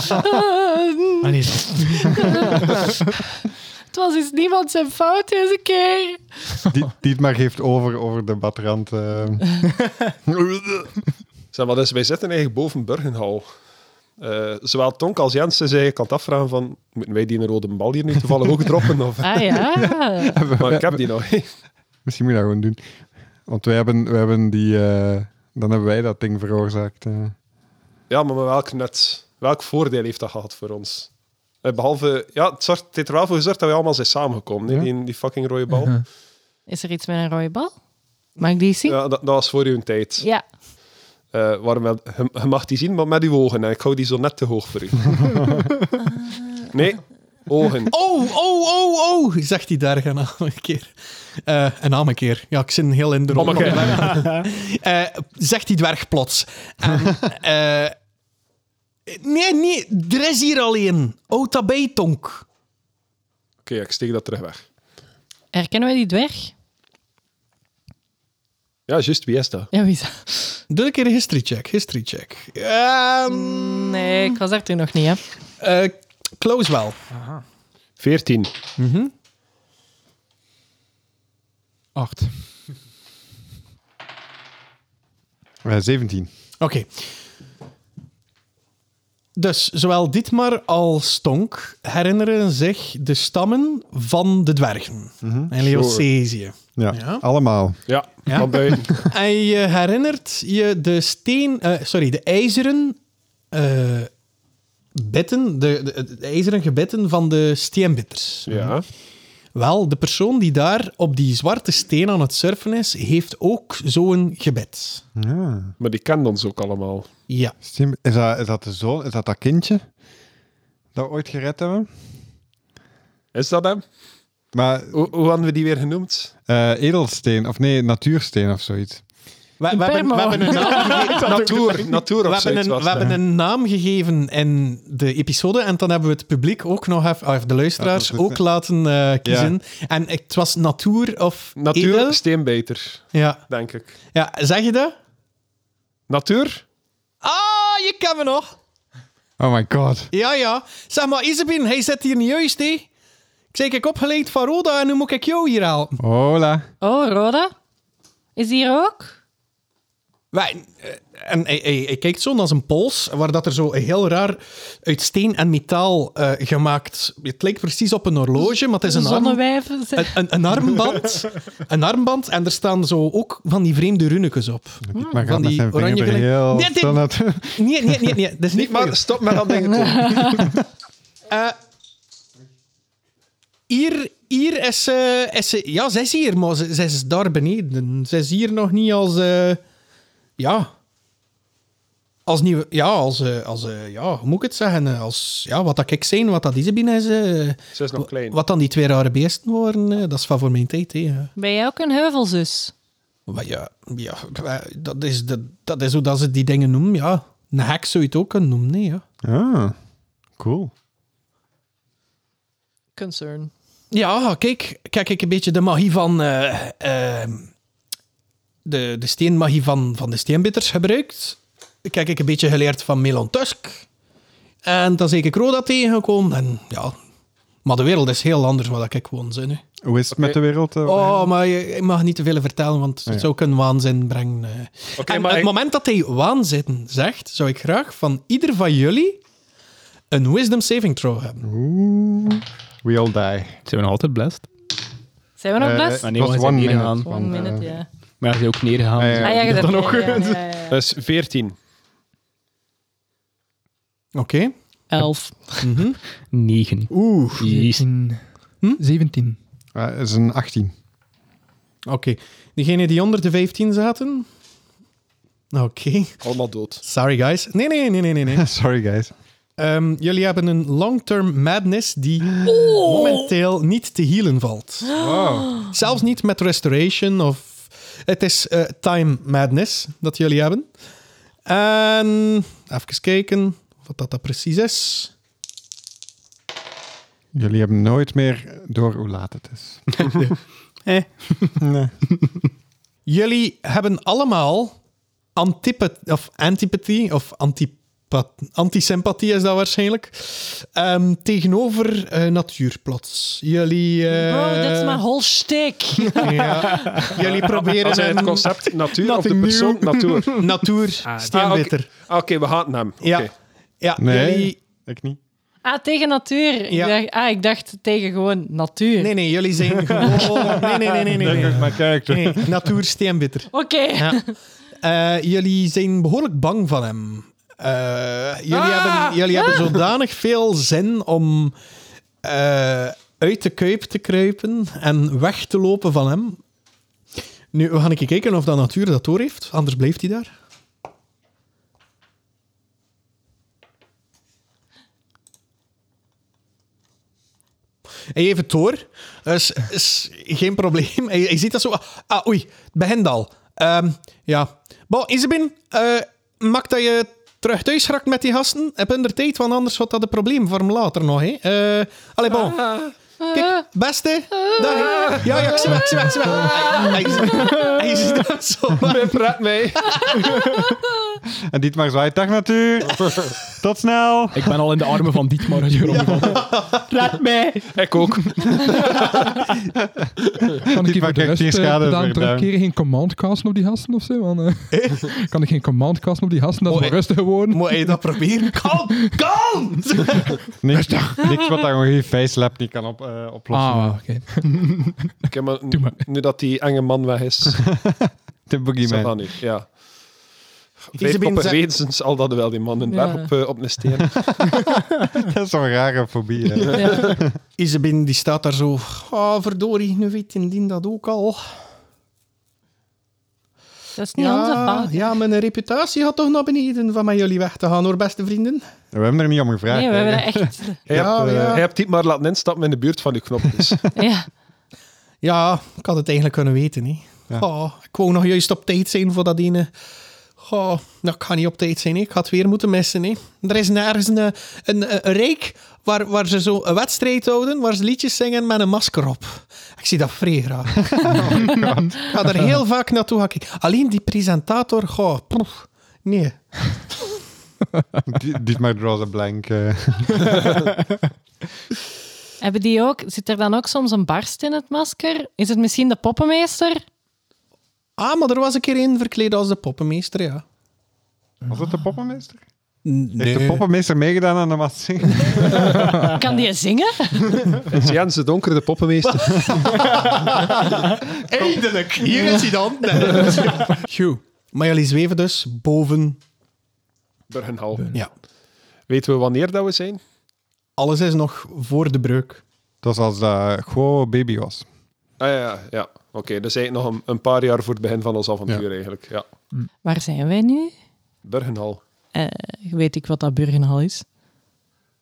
Speaker 1: nee.
Speaker 4: Het was dus niemand zijn fout deze keer.
Speaker 2: Die, die het maar geeft over, over de badrand. eh.
Speaker 3: Zeg maar, dus wij zitten eigenlijk boven Burgenhal. Eh, zowel Tonk als Jens zijn eigenlijk aan het afvragen van... Moeten wij die een rode bal hier nu toevallig ook droppen? Of,
Speaker 4: Ah ja.
Speaker 3: maar ik heb die nog.
Speaker 2: Misschien moet je dat gewoon doen. Want wij hebben, wij hebben die... eh, dan hebben wij dat ding veroorzaakt. eh.
Speaker 3: Ja, maar met welk net? Welk voordeel heeft dat gehad voor ons? Eh, Behalve, ja, het, zorgt, het heeft er wel voor gezorgd dat we allemaal zijn samengekomen. hè,
Speaker 2: Ja.
Speaker 3: Die, die fucking rode bal.
Speaker 4: Is er iets met een rode bal? Mag ik die zien?
Speaker 3: Ja, dat, dat was voor uw tijd.
Speaker 4: Ja.
Speaker 3: Eh, waarom, wel- je, je mag die zien, maar met uw ogen. hè. Ik hou die zo net te hoog voor u. nee, ogen.
Speaker 1: Oh, oh, oh, oh, zegt hij daar gaan naam een keer. Eh, een naam een keer. Ja, ik zit heel in de rol.
Speaker 3: Om een keer.
Speaker 1: Eh, zegt die dwerg plots. En, eh, nee, nee, er is hier alleen. Ota Beitonk.
Speaker 3: Oké, ik steek dat terug weg.
Speaker 4: Herkennen wij die dwerg?
Speaker 3: Ja, juist, wie is dat?
Speaker 4: Ja, wie is dat?
Speaker 1: Doe een keer een history check, history check. Ehm
Speaker 4: Nee, ik was daar toen nog niet, hè.
Speaker 1: eh, close wel.
Speaker 3: 14.
Speaker 5: Acht.
Speaker 2: Eh, 17.
Speaker 1: Oké. Dus zowel Dietmar als Tonk herinneren zich de stammen van de dwergen. En Leocesië.
Speaker 2: Ja,
Speaker 1: Ja.
Speaker 2: allemaal.
Speaker 3: Ja,
Speaker 1: Ja.
Speaker 3: van buiten.
Speaker 1: En je eh, herinnert je de steen, eh, sorry, de ijzeren eh bitten, de, de, de ijzeren gebitten van de steenbitters.
Speaker 3: Ja.
Speaker 1: Wel, de persoon die daar op die zwarte steen aan het surfen is, heeft ook zo'n gebit.
Speaker 2: Ja.
Speaker 3: Maar die kent ons ook allemaal.
Speaker 1: Ja.
Speaker 2: Stim- Is dat, is dat de zoon? Is dat dat kindje? Dat we ooit gered hebben?
Speaker 3: Is dat hem?
Speaker 2: Maar
Speaker 3: Hoe, hoe hadden we die weer genoemd?
Speaker 2: eh, edelsteen, of nee, natuursteen of zoiets.
Speaker 1: We, we hebben, we
Speaker 4: permo.
Speaker 1: hebben een naam gegeven.
Speaker 3: Natuur, natuur
Speaker 1: We
Speaker 3: of
Speaker 1: hebben,
Speaker 3: zoiets
Speaker 1: een,
Speaker 3: was
Speaker 1: we
Speaker 3: dat.
Speaker 1: hebben een naam gegeven in de episode en dan hebben we het publiek ook nog even, of de luisteraars
Speaker 2: Ja, dat is
Speaker 1: ook
Speaker 2: het.
Speaker 1: laten eh, kiezen. En het was Natuur of
Speaker 3: Natuur,
Speaker 1: Edel.
Speaker 3: steenbeter,
Speaker 1: Ja.
Speaker 3: denk ik.
Speaker 1: ja, zeg je dat?
Speaker 3: Natuur?
Speaker 1: Ah, je kent me nog.
Speaker 2: Oh my god.
Speaker 1: Ja, ja. Zeg maar, Isabin, hij zit hier niet juist, hè? Ik zei, ik heb opgeleid van Roda en nu moet ik jou hier halen. Ah,
Speaker 2: Hola.
Speaker 4: Oh, Roda? Is die er ook?
Speaker 1: Wij, eh, en hij, hij, hij kijkt zo naar zijn pols, waar dat er zo een heel raar uit steen en metaal eh, gemaakt... Het lijkt precies op een horloge, maar het is een arm...
Speaker 4: Zonnewijven?
Speaker 1: Een,
Speaker 4: zeg.
Speaker 1: een, een armband. Een armband. En er staan zo ook van die vreemde runnekes op.
Speaker 2: Maar gaat
Speaker 1: Van
Speaker 2: met
Speaker 1: die
Speaker 2: zijn
Speaker 1: oranje
Speaker 2: vinger er
Speaker 1: gele-
Speaker 2: heel
Speaker 1: Nee, dit-
Speaker 2: snel naartoe.
Speaker 1: Nee, nee, nee. nee. Dat is niet
Speaker 3: Niet maar,
Speaker 1: maar...
Speaker 3: stop met dat ding. doen.
Speaker 1: Eh, Hier, hier is, ze, is ze... Ja, zij is hier, maar ze, zij is daar beneden. Zij is hier nog niet als... eh, ja... Als nieuwe... Ja, als... eh, als eh, ja, hoe moet ik het zeggen? Eh, Als, ja, wat dat ik zijn, wat dat is binnen is... eh,
Speaker 3: Ze is nog klein.
Speaker 1: Wat dan die twee rare beesten worden, eh, dat is van voor mijn tijd. Hè.
Speaker 4: Ben jij ook een heuvelzus?
Speaker 1: Maar ja, ja dat, is de, dat is hoe dat ze die dingen noemen, ja. Een hek zou je het ook kunnen noemen, nee, ja.
Speaker 2: Ah, cool.
Speaker 4: Concern.
Speaker 1: ja, kijk, kijk ik een beetje de magie van. eh, ehm, de, de steenmagie van, van de steenbitters gebruikt. Kijk ik een beetje geleerd van Melon Tusk. En dan zeker Kroda tegengekomen. En ja, maar de wereld is heel anders wat ik gewoon zin. hè.
Speaker 2: Hoe is het met de wereld? eh,
Speaker 1: Oh, maar je, je mag niet te veel vertellen, want het
Speaker 2: Ah, ja.
Speaker 1: zou kunnen waanzin brengen. eh.
Speaker 3: Oké,
Speaker 1: en
Speaker 3: maar
Speaker 1: het
Speaker 3: ik-
Speaker 1: moment dat hij waanzin zegt, zou ik graag van ieder van jullie een wisdom saving throw hebben.
Speaker 2: We all die.
Speaker 7: Zijn we nog altijd blessed?
Speaker 4: Zijn we nog
Speaker 2: Eh,
Speaker 4: blessed?
Speaker 7: Maar nee, we
Speaker 2: was
Speaker 7: zijn
Speaker 2: one
Speaker 7: hier
Speaker 2: minute,
Speaker 7: gegaan.
Speaker 4: One
Speaker 2: want,
Speaker 4: minute,
Speaker 2: eh,
Speaker 4: ja.
Speaker 7: Maar hij is ook neergegaan.
Speaker 2: Ah, ja.
Speaker 4: Ah, ja, je
Speaker 7: dat
Speaker 4: hebt-
Speaker 7: dan
Speaker 4: ja,
Speaker 7: ook.
Speaker 4: ja, ja, ja.
Speaker 3: Dat is 14.
Speaker 1: Oké.
Speaker 4: Elf.
Speaker 1: Mhm.
Speaker 7: 9.
Speaker 1: Oeh.
Speaker 7: Jeez.
Speaker 5: 17.
Speaker 1: Hm?
Speaker 5: 17.
Speaker 2: Eh, Het is een 18.
Speaker 1: Oké. Diegenen die onder de 15 zaten? Oké.
Speaker 3: Allemaal dood.
Speaker 1: Sorry, guys. Nee, nee, nee, nee, nee. nee.
Speaker 2: Sorry, guys.
Speaker 1: Ehm, jullie hebben een long-term madness die momenteel niet te healen valt.
Speaker 2: Wow.
Speaker 1: Zelfs niet met restoration of... Het is eh, time madness dat jullie hebben. En even kijken wat dat, dat precies is.
Speaker 2: Jullie hebben nooit meer door hoe laat het is.
Speaker 6: Eh.
Speaker 2: Nee.
Speaker 1: Jullie hebben allemaal antipa- of antipathy of antipa- antisympathie is dat waarschijnlijk ehm, tegenover eh, natuur plots. Jullie, eh,
Speaker 4: Bro, Oh, dat is mijn whole shtick.
Speaker 1: ja. Jullie proberen
Speaker 3: Als hij het
Speaker 1: een
Speaker 3: concept natuur of de
Speaker 1: Nothing
Speaker 3: persoon natuur.
Speaker 1: natuur steenbitter.
Speaker 3: Ah, Oké, we haten hem. Oké.
Speaker 1: Ja, ja
Speaker 2: Nee.
Speaker 1: jullie,
Speaker 2: Ik niet.
Speaker 4: Ah, tegen natuur.
Speaker 1: Ja.
Speaker 4: Ik dacht, ah, ik dacht tegen gewoon natuur.
Speaker 1: nee, nee, jullie zijn gewoon. Nee, nee, nee, nee, nee. nee.
Speaker 2: mijn character.
Speaker 1: Nee, natuur steenbitter.
Speaker 4: Oké.
Speaker 1: Ja. Eh, jullie zijn behoorlijk bang van hem. Eh, jullie hebben, jullie hebben zodanig veel zin om eh, uit de kuip te kruipen en weg te lopen van hem. Nu, we gaan even kijken of dat natuur dat door heeft. Anders blijft hij daar. Hij heeft het door. Dus, is geen probleem. Hij, hij ziet dat zo. Ah, oei. Het begint al. Ehm, ja. Bon, Isabin, eh maak dat je terug thuis raakt met die gasten. Heb er tijd, want anders wordt dat een probleem voor hem later nog. Hè. Eh allee, bon. Kijk, beste. Dag. hè. Ja, ja, ik zie weg, ik zie weg, ik zie weg. Hij, hij, hij ziet dat zo.
Speaker 3: Praat mee.
Speaker 2: En Dietmar zwaait, dag natuur. Tot snel.
Speaker 7: Ik ben al in de armen van Dietmar.
Speaker 6: Laat mij!
Speaker 3: Ik ook.
Speaker 5: Kan
Speaker 2: Dit
Speaker 5: ik even
Speaker 2: maakt
Speaker 5: de
Speaker 2: echt
Speaker 5: rest
Speaker 2: geen
Speaker 5: eh,
Speaker 2: schade
Speaker 5: gedaan
Speaker 2: voor
Speaker 5: terugkeren? Geen command casten op die gasten of zo? Want, eh, kan ik geen command casten op die gasten? Dat is
Speaker 1: Oh,
Speaker 5: maar
Speaker 2: eh,
Speaker 5: rustig gewoon.
Speaker 1: Moet je dat proberen? Kom, kom!
Speaker 2: Niks, niks wat daar nog geen facelap niet kan op, eh, oplossen.
Speaker 5: Ah, oké.
Speaker 3: Oké, maar,
Speaker 5: Doe maar.
Speaker 3: Nu dat die enge man weg is,
Speaker 2: De
Speaker 3: zeg
Speaker 2: boogeyman.
Speaker 3: dan nu. Ja.
Speaker 1: Isabel
Speaker 3: Weet op
Speaker 1: zegt-
Speaker 3: wezens al dat wel die man een berg
Speaker 4: Ja.
Speaker 3: op, eh, op een steen.
Speaker 2: Dat is zo'n rare fobie. hè.
Speaker 4: Ja.
Speaker 1: Isabin die staat daar zo. Ah, verdorie, nu weet indien dat ook al.
Speaker 4: Dat is niet onze fout.
Speaker 1: ja, mijn reputatie gaat toch naar beneden van met jullie weg te gaan hoor, beste vrienden.
Speaker 2: We hebben er niet om gevraagd.
Speaker 4: Nee, we
Speaker 2: hè.
Speaker 4: hebben dat echt...
Speaker 3: Hij
Speaker 1: Ja,
Speaker 3: hebt, eh,
Speaker 1: ja.
Speaker 3: hij hebt die maar laten instappen in de buurt van die knop. Dus.
Speaker 4: Ja.
Speaker 1: Ja, ik had het eigenlijk kunnen weten. Hè.
Speaker 2: Ja.
Speaker 1: Oh, ik wou nog juist op tijd zijn voor dat ene. Oh, dat kan niet op tijd zijn. Hè. Ik had het weer moeten missen. Hè. Er is nergens een, een, een, een reek waar, waar ze zo een wedstrijd houden, waar ze liedjes zingen met een masker op. Ik zie dat vrij graag. ik ga er heel vaak naartoe. gaan kijken. Alleen die presentator, goh, poef, nee.
Speaker 2: Die- Dietmar draws a blank. eh.
Speaker 4: Hebben die ook... Zit er dan ook soms een barst in het masker? Is het misschien de poppenmeester?
Speaker 1: Ah, maar er was een keer één verkleed als de poppenmeester, ja.
Speaker 2: Was dat de poppenmeester?
Speaker 1: Nee.
Speaker 2: Heeft de poppenmeester meegedaan aan de massing?
Speaker 4: Kan die zingen?
Speaker 3: Het is Jens de Donker, de poppenmeester.
Speaker 1: Eindelijk, hier is hij dan. Phew. Maar jullie zweven dus boven.
Speaker 3: Burgenhal.
Speaker 1: Ja.
Speaker 3: Weten we wanneer dat we zijn?
Speaker 1: Alles is nog voor de breuk.
Speaker 2: Dat was als dat gewoon baby was.
Speaker 3: Ah ja, ja. Oké, dus eigenlijk nog een, een paar jaar voor het begin van ons avontuur eigenlijk. Ja.
Speaker 4: Waar zijn wij nu?
Speaker 3: Burgenhal.
Speaker 4: Eh, weet ik wat dat Burgenhal is?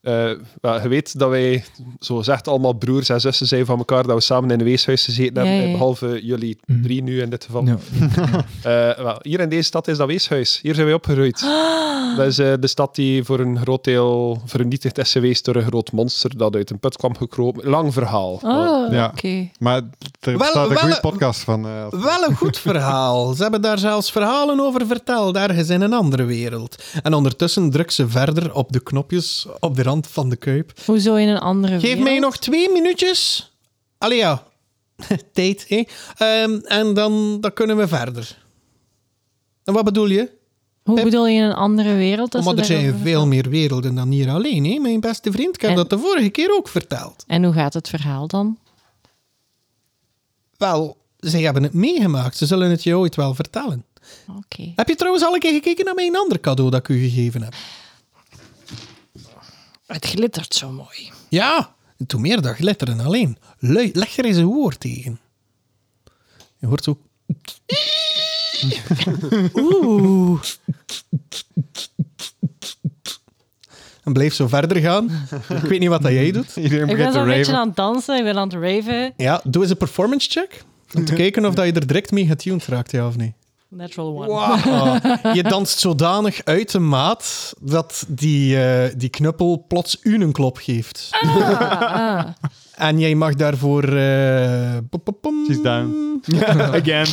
Speaker 3: Eh, eh, wel, je weet dat wij, zo zegt, allemaal broers en zussen zijn van elkaar, dat we samen in een weeshuis gezeten
Speaker 4: Ja,
Speaker 3: hebben,
Speaker 4: ja, ja.
Speaker 3: behalve jullie
Speaker 5: Mhm.
Speaker 3: drie nu in dit geval.
Speaker 5: Ja.
Speaker 3: Eh, wel, hier in deze stad is dat weeshuis. Hier zijn wij opgegroeid.
Speaker 4: Ah.
Speaker 3: Dat is eh, de stad die voor een groot deel vernietigd is geweest door een groot monster dat uit een put kwam gekropen. Lang verhaal.
Speaker 4: Oh,
Speaker 2: Ja.
Speaker 4: oké.
Speaker 2: Maar er
Speaker 1: Wel-
Speaker 2: staat een
Speaker 1: wel-
Speaker 2: goede podcast van. eh, op-
Speaker 1: Wel een goed verhaal. Ze hebben daar zelfs verhalen over verteld, ergens in een andere wereld. En ondertussen drukt ze verder op de knopjes op de rand van de kuip.
Speaker 4: Hoezo in een andere
Speaker 1: Geef
Speaker 4: wereld?
Speaker 1: mij nog twee minuutjes. Allee ja, tijd, hè. Ehm, en dan, dan kunnen we verder. En wat bedoel je?
Speaker 4: Hoe
Speaker 1: Pip.
Speaker 4: bedoel je in een andere wereld? dat
Speaker 1: Omdat er
Speaker 4: ze
Speaker 1: zijn
Speaker 4: daarover-
Speaker 1: veel meer werelden dan hier alleen, hè, mijn beste vriend. Ik heb
Speaker 4: En-
Speaker 1: dat de vorige keer ook verteld.
Speaker 4: En hoe gaat het verhaal dan?
Speaker 1: Wel, zij hebben het meegemaakt. Ze zullen het je ooit wel vertellen.
Speaker 4: Oké.
Speaker 1: Heb je trouwens al een keer gekeken naar mijn ander cadeau dat ik u gegeven heb?
Speaker 4: Het glittert zo mooi.
Speaker 1: Ja, toen meer dan glitteren alleen. Lui, leg er eens een woord tegen. Je hoort zo... Oeh. En blijf zo verder gaan. Ik weet niet wat dat jij doet.
Speaker 2: Iedereen
Speaker 4: Ik ben
Speaker 2: begint
Speaker 4: zo'n
Speaker 2: te
Speaker 4: beetje
Speaker 2: raven.
Speaker 4: aan het dansen, ik ben aan het raven.
Speaker 1: Ja, doe eens een performance check. Om te kijken of dat je er direct mee getuned raakt, ja of nee.
Speaker 4: Natural one.
Speaker 1: Ah, je danst zodanig uit de maat dat die, eh, die knuppel plots u een klop geeft.
Speaker 4: Ah,
Speaker 1: En jij mag daarvoor... eh, pop, pop, pom.
Speaker 2: She's down.
Speaker 7: Again.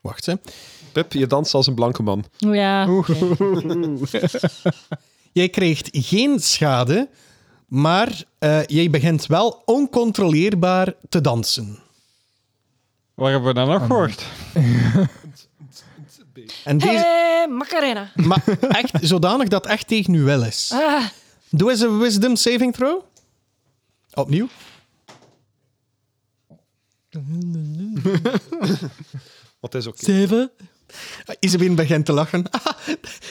Speaker 1: Wacht, hè.
Speaker 3: Pip, je danst als een blanke man.
Speaker 4: ah. Ja. oké.
Speaker 1: Jij krijgt geen schade, maar eh, jij begint wel oncontroleerbaar te dansen.
Speaker 2: Waar hebben we dan nog gehoord?
Speaker 1: En deze,
Speaker 4: Hey, Macarena.
Speaker 1: maar echt zodanig dat echt tegen u wel is.
Speaker 4: Ah,
Speaker 1: Doe eens een wisdom saving throw. Opnieuw.
Speaker 3: Want het is oké.
Speaker 1: Zeven. Isabel begint te lachen.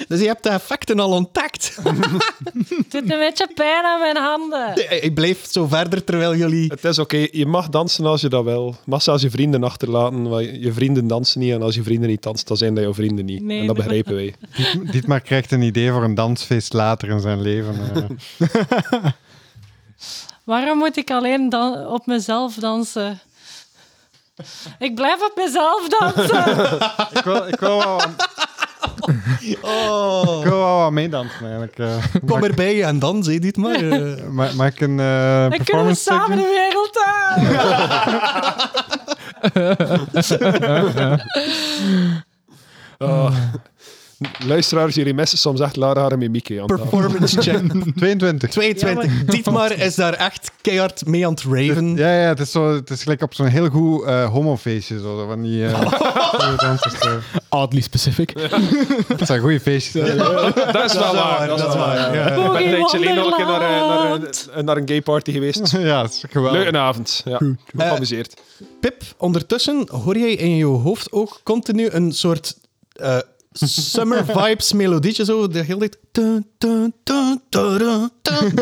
Speaker 1: dus je hebt de effecten al ontdekt.
Speaker 4: het doet een beetje pijn aan mijn handen.
Speaker 1: Ik blijf zo verder terwijl jullie...
Speaker 3: Het is oké, je mag dansen als je dat wil. Je mag zelfs je vrienden achterlaten, want je je vrienden dansen niet. En als je vrienden niet dansen, dan zijn dat jouw vrienden niet.
Speaker 4: Nee,
Speaker 3: en dat
Speaker 4: dat-
Speaker 3: begrijpen wij.
Speaker 2: Diet- Dietmar krijgt een idee voor een dansfeest later in zijn leven. eh.
Speaker 4: Waarom moet ik alleen dan op mezelf dansen? Ik blijf op mezelf dansen.
Speaker 2: ik, wil, ik, wil wel, ik
Speaker 1: Oh.
Speaker 2: wil wel wat meedansen eigenlijk. eh.
Speaker 1: Kom erbij en dans, hé, dit maar. eh.
Speaker 2: Ma maak ik een eh
Speaker 4: Dan kunnen we
Speaker 2: performance
Speaker 4: samen de
Speaker 2: stukje?
Speaker 4: wereld aan.
Speaker 3: Ah. Luisteraars, jullie missen soms echt Lara en Mieke aan tafel.
Speaker 1: Performance check.
Speaker 2: 22.
Speaker 1: 22. Dietmar is daar echt keihard mee aan het raven.
Speaker 2: Ja, ja, het is, zo, het is gelijk op zo'n heel goed eh, homofeestje. Zo, zo van die, eh, goede dansers, eh.
Speaker 6: Oddly specific.
Speaker 2: Het zijn goede feestjes. hè.
Speaker 3: Dat is wel waar. Dat is waar.
Speaker 2: Ja,
Speaker 3: Ik ben een tijdje geleden nog een keer naar, eh, naar, een-
Speaker 4: Wonderland.
Speaker 3: een- naar een gay party geweest.
Speaker 2: eh. ja het is geweldig.
Speaker 3: Leuke avond. Ja. Geamuseerd.
Speaker 1: Pip, ondertussen hoor jij in je hoofd ook continu een soort eh, summer vibes melodietje zo. De hele tijd. Tun, tun, tun, tudun, tun.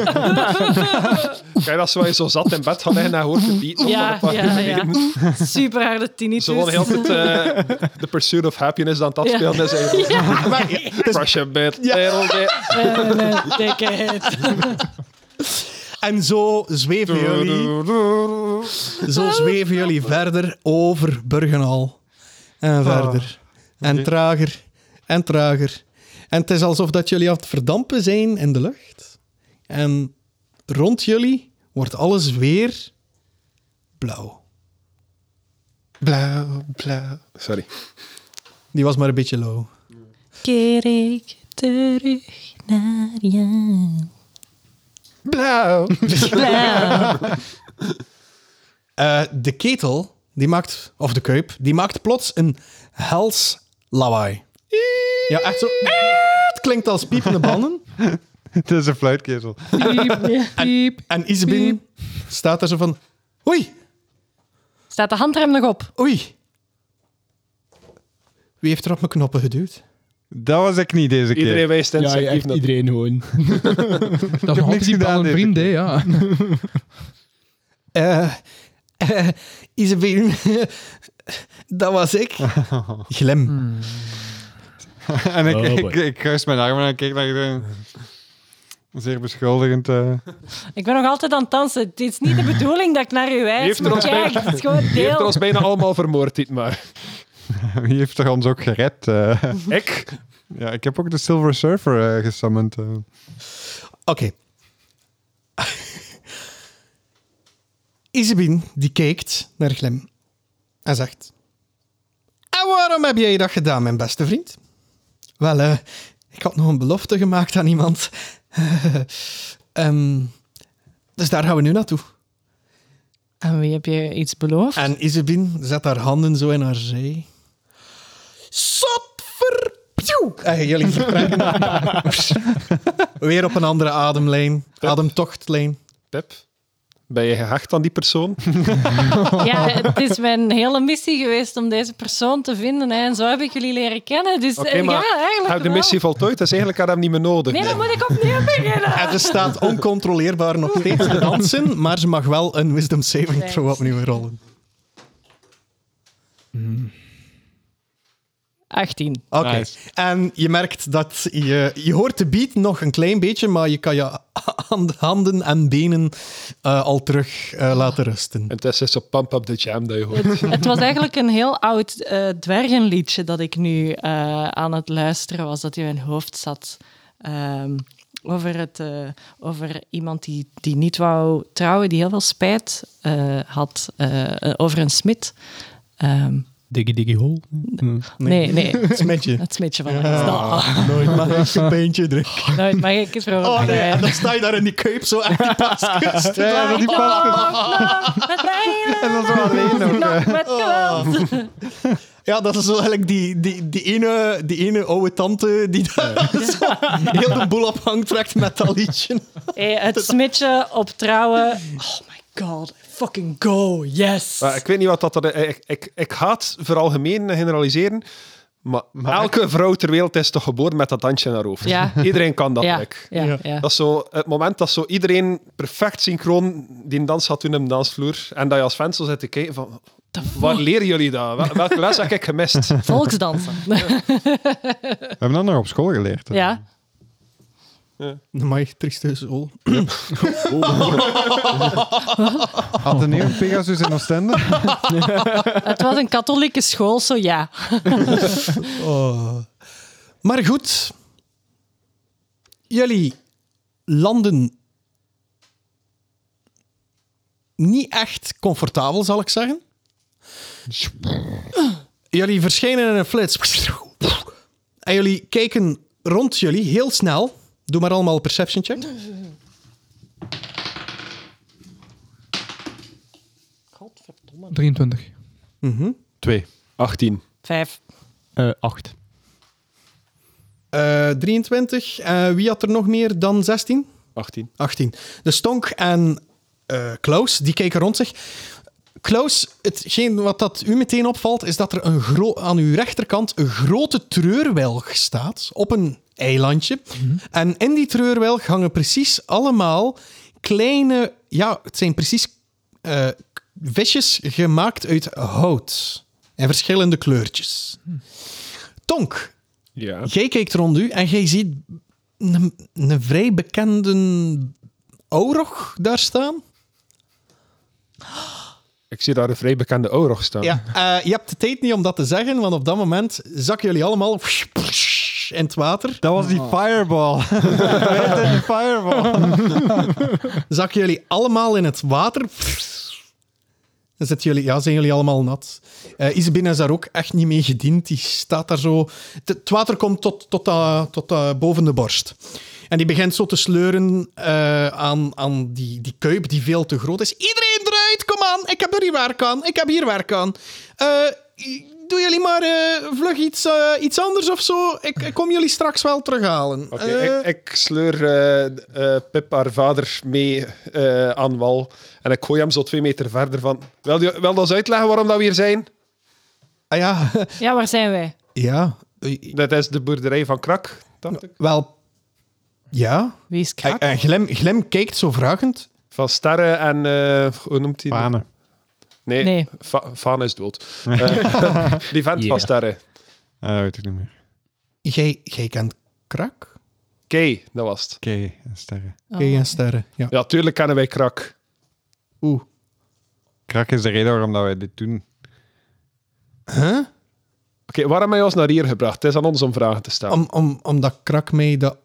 Speaker 3: Kijk, als wij zo zat in bed gaan liggen en hoort het beat nog van
Speaker 4: Ja,
Speaker 3: een paar
Speaker 4: ja,
Speaker 3: keer.
Speaker 4: ja. Super harde tinnitus.
Speaker 3: Zo van heel goed eh, The Pursuit of Happiness aan dat
Speaker 4: Ja.
Speaker 3: spelen is. eigenlijk.
Speaker 1: Maar ja,
Speaker 3: Crush a bit, little bit.
Speaker 1: En zo zweven jullie, zo zweven jullie verder over Burgenal.
Speaker 3: Ah.
Speaker 1: En verder. En trager. En trager. En het is alsof dat jullie aan het verdampen zijn in de lucht. En rond jullie wordt alles weer blauw.
Speaker 3: Blauw, blauw. Sorry.
Speaker 1: Die was maar een beetje low.
Speaker 4: Keer ik terug naar jou.
Speaker 2: Blauw.
Speaker 1: Eh, de ketel, die maakt, of de kuip, die maakt plots een hels lawaai. Ja, echt zo. Het klinkt als piepende banden.
Speaker 2: Het is een fluitketel.
Speaker 4: Piep, piep.
Speaker 1: En Isabel
Speaker 4: Piep.
Speaker 1: staat er zo van... Oei,
Speaker 4: Staat de handrem nog op?
Speaker 1: oei. Wie heeft er op mijn knoppen geduwd?
Speaker 2: Dat was ik niet deze keer.
Speaker 3: Iedereen wijst
Speaker 6: Ja, ja, echt
Speaker 3: instinctief naar
Speaker 6: iedereen gewoon.
Speaker 5: Dat
Speaker 2: niks
Speaker 5: is altijd
Speaker 2: gedaan
Speaker 5: wel
Speaker 2: deze
Speaker 5: een vriend, hè, ja.
Speaker 1: Eh eh, Isabel, dat was ik. Glim.
Speaker 2: en ik,
Speaker 7: Oh,
Speaker 2: ik,
Speaker 7: boy.
Speaker 2: ik, kruis mijn armen en ik kijk naar iedereen. Zeer beschuldigend. eh.
Speaker 4: Ik ben nog altijd aan het dansen. Het is niet de bedoeling dat ik naar u wijs,
Speaker 3: Heeft er
Speaker 4: maar
Speaker 3: ons
Speaker 4: kijk,
Speaker 3: bij-
Speaker 4: het is gewoon
Speaker 3: Die heeft er
Speaker 4: deel.
Speaker 3: ons bijna allemaal vermoord, dit maar.
Speaker 2: Wie heeft er ons ook gered? eh?
Speaker 3: Ik?
Speaker 2: ja, ik heb ook de Silver Surfer eh, gesummand. eh.
Speaker 1: Oké. Isabine, die kijkt naar Glim en zegt... En waarom heb jij dat gedaan, mijn beste vriend? Wel, eh, ik had nog een belofte gemaakt aan iemand. Ehm, dus daar gaan we nu naartoe.
Speaker 4: Aan wie heb je iets beloofd?
Speaker 1: En Isabine zet haar handen zo in haar zij. Sotver... En Eh, jullie vertrekken. Weer op een andere ademlijn. Ademtochtlijn.
Speaker 3: Pep, ben je gehecht aan die persoon?
Speaker 4: Ja, het is mijn hele missie geweest om deze persoon te vinden. Hè, en zo heb ik jullie leren kennen. Dus
Speaker 3: Oké,
Speaker 4: eh,
Speaker 3: maar
Speaker 4: ja, eigenlijk
Speaker 3: Heb de
Speaker 4: wel.
Speaker 3: missie voltooid? Dus eigenlijk had hem niet meer nodig.
Speaker 4: Nee, dan moet ik opnieuw beginnen.
Speaker 1: En ze staat oncontroleerbaar nog steeds te dansen, maar ze mag wel een wisdom saving throw opnieuw rollen.
Speaker 4: 18.
Speaker 1: Oké. En je merkt dat je... Je hoort de beat nog een klein beetje, maar je kan je hand- handen en benen eh, al terug eh, laten rusten.
Speaker 3: En het is dus zo pump up the jam dat je hoort.
Speaker 4: Het, het was eigenlijk een heel oud eh, dwergenliedje dat ik nu eh, aan het luisteren was, dat in mijn hoofd zat. Ehm, over, het, eh, over iemand die, die niet wou trouwen, die heel veel spijt eh, had eh, eh, over een smid. Ehm,
Speaker 7: Diggy Diggy Hole.
Speaker 4: nee, nee,
Speaker 1: Het smetje.
Speaker 4: het smidje van
Speaker 1: Ja.
Speaker 4: ja.
Speaker 2: Ah.
Speaker 1: Nooit maar eens een pijntje druk.
Speaker 4: Nooit mag ik het proberen.
Speaker 1: Oh nee, en dan sta je daar in die keup zo echt die paaskust.
Speaker 2: Ja, dat die past.
Speaker 4: En
Speaker 2: dat is wel alleen ook, eh.
Speaker 4: Met geweld.
Speaker 1: Ja, dat is wel eigenlijk die, die, die, ene, die ene oude tante die daar zo heel de boel op hangt trekt met dat liedje.
Speaker 4: Hey, het smidje op trouwen. Oh my god. Fucking go. Yes.
Speaker 3: Maar ik weet niet wat dat... er- Ik, ik, ik haat veralgemenen en generaliseren. Maar, elke vrouw ter wereld is toch geboren met dat handje naar hoofd.
Speaker 4: Ja.
Speaker 3: Iedereen kan dat,
Speaker 4: ja,
Speaker 3: ik.
Speaker 4: ja, ja.
Speaker 3: Dat is zo, het moment dat zo iedereen perfect synchroon die dans gaat doen op de dansvloer. En dat je als fan zo zit te kijken van... Waar leren jullie dat? Wel- Welke les heb ik gemist?
Speaker 4: Volksdansen.
Speaker 2: We hebben dat nog op school geleerd. hè.
Speaker 4: ja.
Speaker 1: Amai, trieste zool.
Speaker 2: Had een nieuwe Pegasus in Oostende?
Speaker 4: Het was een katholieke school, zo ja.
Speaker 1: Oh. Maar goed. Jullie landen niet echt comfortabel, zal ik zeggen. Jullie verschijnen in een flits. En jullie kijken rond jullie heel snel. Doe maar allemaal perception check.
Speaker 4: Godverdomme.
Speaker 5: 23.
Speaker 1: Mhm.
Speaker 3: Twee. 18.
Speaker 4: Vijf.
Speaker 7: Eh acht.
Speaker 1: Eh, 23. Eh, wie had er nog meer dan 16?
Speaker 3: 18.
Speaker 1: 18. Dus Stonk en eh, Klaus, die kijken rond zich. Klaus, hetgeen wat dat u meteen opvalt, is dat er een gro- aan uw rechterkant een grote treurwelg staat op een eilandje. En in die treurwelg hangen precies allemaal kleine, ja, het zijn precies eh, k- visjes gemaakt uit hout. En verschillende kleurtjes. Tonk,
Speaker 3: Ja.
Speaker 1: Jij kijkt rond u en jij ziet een, een vrij bekende Aurog daar staan.
Speaker 3: Ik zie daar een vrij bekende Oorlog staan.
Speaker 1: Ja. Eh, je hebt de tijd niet om dat te zeggen, want op dat moment zakken jullie allemaal in het water.
Speaker 2: Dat was die
Speaker 1: Oh.
Speaker 2: fireball. Weet je, die fireball.
Speaker 1: Zakken jullie allemaal in het water. Dan zitten jullie, ja, zijn jullie allemaal nat. Eh Isabine is daar ook echt niet mee gediend. Die staat daar zo... Het- Het water komt tot, tot, eh, tot eh, boven de borst. En die begint zo te sleuren eh, aan, aan die, die kuip die veel te groot is. Iedereen eruit, kom aan. Ik heb er hier werk aan. Ik heb hier werk aan. Eh, doe jullie maar eh, vlug iets, eh, iets anders of zo. Ik, ik kom jullie straks wel terughalen.
Speaker 3: Oké,
Speaker 1: Eh,
Speaker 3: ik, ik sleur eh, eh, Pip, haar vader, mee eh, aan wal. En ik gooi hem zo twee meter verder van... Wil je wel eens uitleggen waarom dat we hier zijn?
Speaker 1: ah, ja.
Speaker 4: Ja, waar zijn wij?
Speaker 1: ja.
Speaker 3: Dat is de boerderij van Krak, dacht ik.
Speaker 1: Wel... Ja,
Speaker 4: Wie is
Speaker 1: En,
Speaker 4: Krak?
Speaker 1: en Glem, Glem kijkt zo vragend.
Speaker 3: Van Sterren en... eh, hoe noemt hij? dat?
Speaker 2: Panen.
Speaker 3: Nee,
Speaker 4: Nee.
Speaker 3: Fa- Faan is dood. Eh, die vent
Speaker 7: Ja.
Speaker 2: Eh,
Speaker 3: van Sterren.
Speaker 2: Ah, dat weet ik niet meer.
Speaker 1: Jij, jij kent Krak?
Speaker 3: Kay, dat was het.
Speaker 2: Oké, en sterren.
Speaker 1: Oké, en sterren. Ja.
Speaker 3: Ja, tuurlijk kennen wij Krak.
Speaker 2: Krak is de reden waarom dat wij dit doen.
Speaker 1: Huh?
Speaker 3: Oké, waarom heb je ons naar hier gebracht? Het is aan ons om vragen te stellen.
Speaker 1: Om, om, omdat Krak mij dat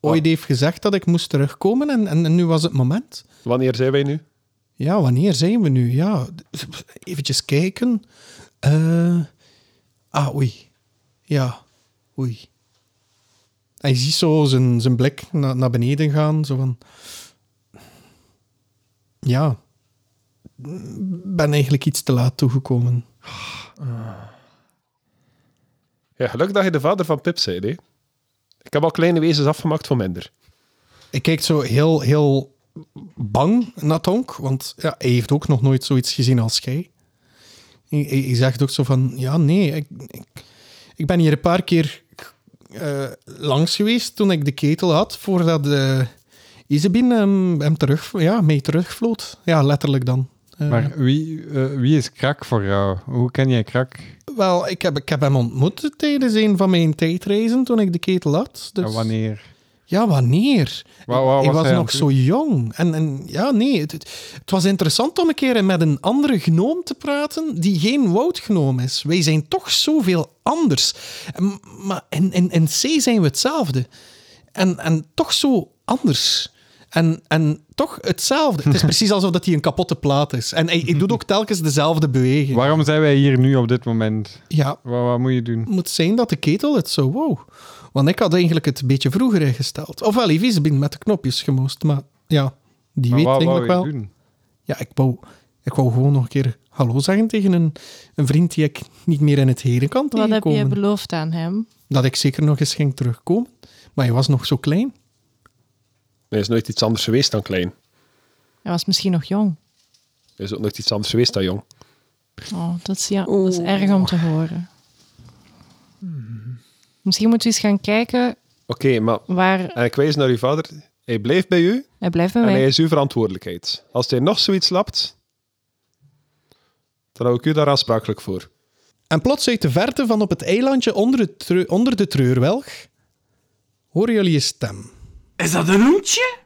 Speaker 1: ooit heeft gezegd dat ik moest terugkomen en, en, en nu was het moment.
Speaker 3: Wanneer zijn wij nu?
Speaker 1: Ja, wanneer zijn we nu? Ja, eventjes kijken. Eh, ah, oei. Ja, oei. En je ziet zo zijn, zijn blik na, naar beneden gaan, zo van... Ja, ben eigenlijk iets te laat toegekomen.
Speaker 3: Ja, gelukkig dat je de vader van Pip zei, hè? Ik heb al kleine wezens afgemaakt voor minder.
Speaker 1: Ik kijk zo heel, heel bang naar Tonk, want ja, hij heeft ook nog nooit zoiets gezien als jij. Hij, hij- hij zegt ook zo van, ja, nee, ik, ik, ik ben hier een paar keer eh, langs geweest toen ik de ketel had, voordat eh Izebin hem, hem terug, ja, mee terugvloot. Ja, letterlijk dan. Eh,
Speaker 2: Maar wie, eh, wie is Krak voor jou? Hoe ken jij Krak?
Speaker 1: Wel, ik heb, ik heb hem ontmoet tijdens een van mijn tijdreizen toen ik de ketel had. Dus...
Speaker 2: En wanneer?
Speaker 1: Ja, wanneer?
Speaker 2: Waar- waar
Speaker 1: hij
Speaker 2: was
Speaker 1: was
Speaker 2: hij aan
Speaker 1: nog
Speaker 2: toe?
Speaker 1: zo jong. En, en ja, nee, het, het, het was interessant om een keer met een andere gnoom te praten die geen woudgnoom is. Wij zijn toch zoveel anders. En- maar in, in, in C zijn we hetzelfde. En, en toch zo anders. En, en toch hetzelfde. Het is precies alsof dat hij een kapotte plaat is. En hij, hij doet ook telkens dezelfde beweging.
Speaker 2: Waarom zijn wij hier nu op dit moment?
Speaker 1: Ja,
Speaker 2: Wat, wat moet je doen?
Speaker 1: moet zijn dat de ketel het zo wou. Want ik had eigenlijk het een beetje vroeger ingesteld. Ofwel, Yves ben met de knopjes gemoost, maar ja, die
Speaker 2: Maar
Speaker 1: weet
Speaker 2: wat wou
Speaker 1: eigenlijk
Speaker 2: je
Speaker 1: wel.
Speaker 2: doen?
Speaker 1: Ja, ik wou, ik wou gewoon nog een keer hallo zeggen tegen een, een vriend die ik niet meer in het herenkant
Speaker 4: Wat heb
Speaker 1: tegenkom.
Speaker 4: je beloofd aan hem?
Speaker 1: Dat ik zeker nog eens ging terugkomen. Maar je was nog zo klein.
Speaker 3: Hij is nooit iets anders geweest dan klein.
Speaker 4: Hij was misschien nog jong.
Speaker 3: Hij is ook nooit iets anders geweest dan jong.
Speaker 4: Oh, dat is, ja, dat is erg om te horen.
Speaker 3: Hmm.
Speaker 4: Misschien moeten we eens gaan kijken
Speaker 3: Oké, maar...
Speaker 4: waar...
Speaker 3: En ik wijs naar uw vader. Hij blijft bij u
Speaker 4: Hij blijft bij
Speaker 3: en hij
Speaker 4: mij.
Speaker 3: is uw verantwoordelijkheid. Als hij nog zoiets lapt, dan hou ik u daar aansprakelijk voor.
Speaker 1: En plots uit de verte van op het eilandje onder, het treu- onder de treurwelg horen jullie een stem.
Speaker 9: Is dat een hoentje?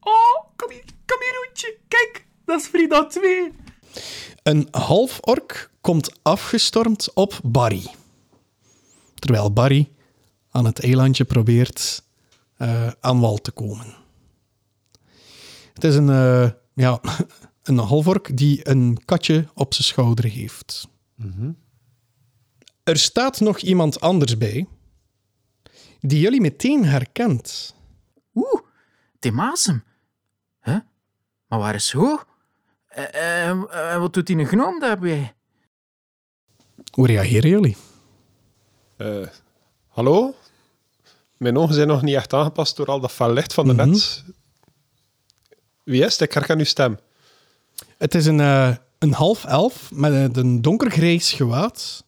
Speaker 9: Oh, kom hier, kom hier hoentje. Kijk, dat is Frida 2.
Speaker 1: Een halfork komt afgestormd op Barry. Terwijl Barry aan het eilandje probeert eh, aan wal te komen. Het is een, eh, ja, een halvork die een katje op zijn schouder heeft. Er staat nog iemand anders bij, die jullie meteen herkent.
Speaker 9: Oeh, Temasem. Huh? Maar waar is Ho? Eh, eh, eh, wat doet die een gnoom daarbij?
Speaker 1: Hoe reageren jullie?
Speaker 3: Eh, hallo? Mijn ogen zijn nog niet echt aangepast door al dat fel licht van de
Speaker 1: Mhm.
Speaker 3: net. Wie is het? Ik herken uw stem.
Speaker 1: Het is een, eh, een half elf met een donkergrijs gewaad.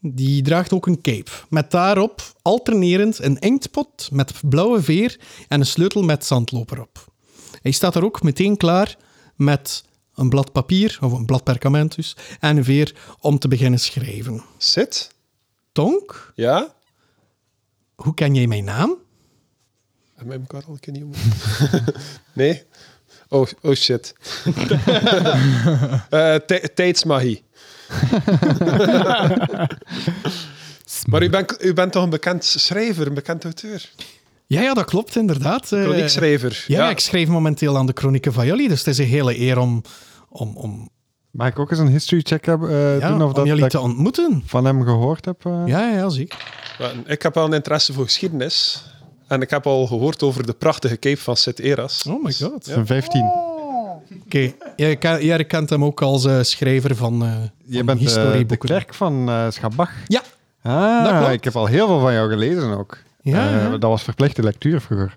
Speaker 1: Die draagt ook een cape. Met daarop alternerend een inktpot met blauwe veer en een sleutel met zandloper op. Hij staat er ook meteen klaar met een blad papier, of een blad perkament dus, en een veer om te beginnen schrijven.
Speaker 3: Zit?
Speaker 1: Tonk,
Speaker 3: Ja?
Speaker 1: hoe ken jij mijn naam?
Speaker 3: Heb mijn elkaar al een keer niet ontmoet? nee? Oh, oh shit. Eh, tij- tijdsmagie. maar u bent, u bent toch een bekend schrijver, een bekend auteur?
Speaker 1: Ja, ja, dat klopt inderdaad. Eh,
Speaker 3: Chroniekschrijver.
Speaker 1: Ja, ik schrijf momenteel aan de chronieken van jullie, dus het is een hele eer om, om, om,
Speaker 2: Mag ik ook eens een history check heb, eh,
Speaker 1: ja,
Speaker 2: doen of
Speaker 1: om
Speaker 2: dat,
Speaker 1: jullie
Speaker 2: dat
Speaker 1: te
Speaker 2: ik
Speaker 1: ontmoeten.
Speaker 2: van hem gehoord heb? eh?
Speaker 1: Ja, ja, zie ik.
Speaker 3: Maar ik heb wel een interesse voor geschiedenis. En ik heb al gehoord over de prachtige cape van Sint Eras.
Speaker 1: Oh my god.
Speaker 2: Dat is een 15.
Speaker 1: Oké, jij, ken- jij kent hem ook als eh, schrijver van, eh
Speaker 2: Je
Speaker 1: van
Speaker 2: bent eh, de
Speaker 1: historieboeken.
Speaker 2: klerk van eh Schabach.
Speaker 1: Ja. Dat
Speaker 2: Ah,
Speaker 1: klopt.
Speaker 2: ik heb al heel veel van jou gelezen ook.
Speaker 1: Ja,
Speaker 2: Eh,
Speaker 1: ja.
Speaker 2: Dat was verplichte lectuur vroeger.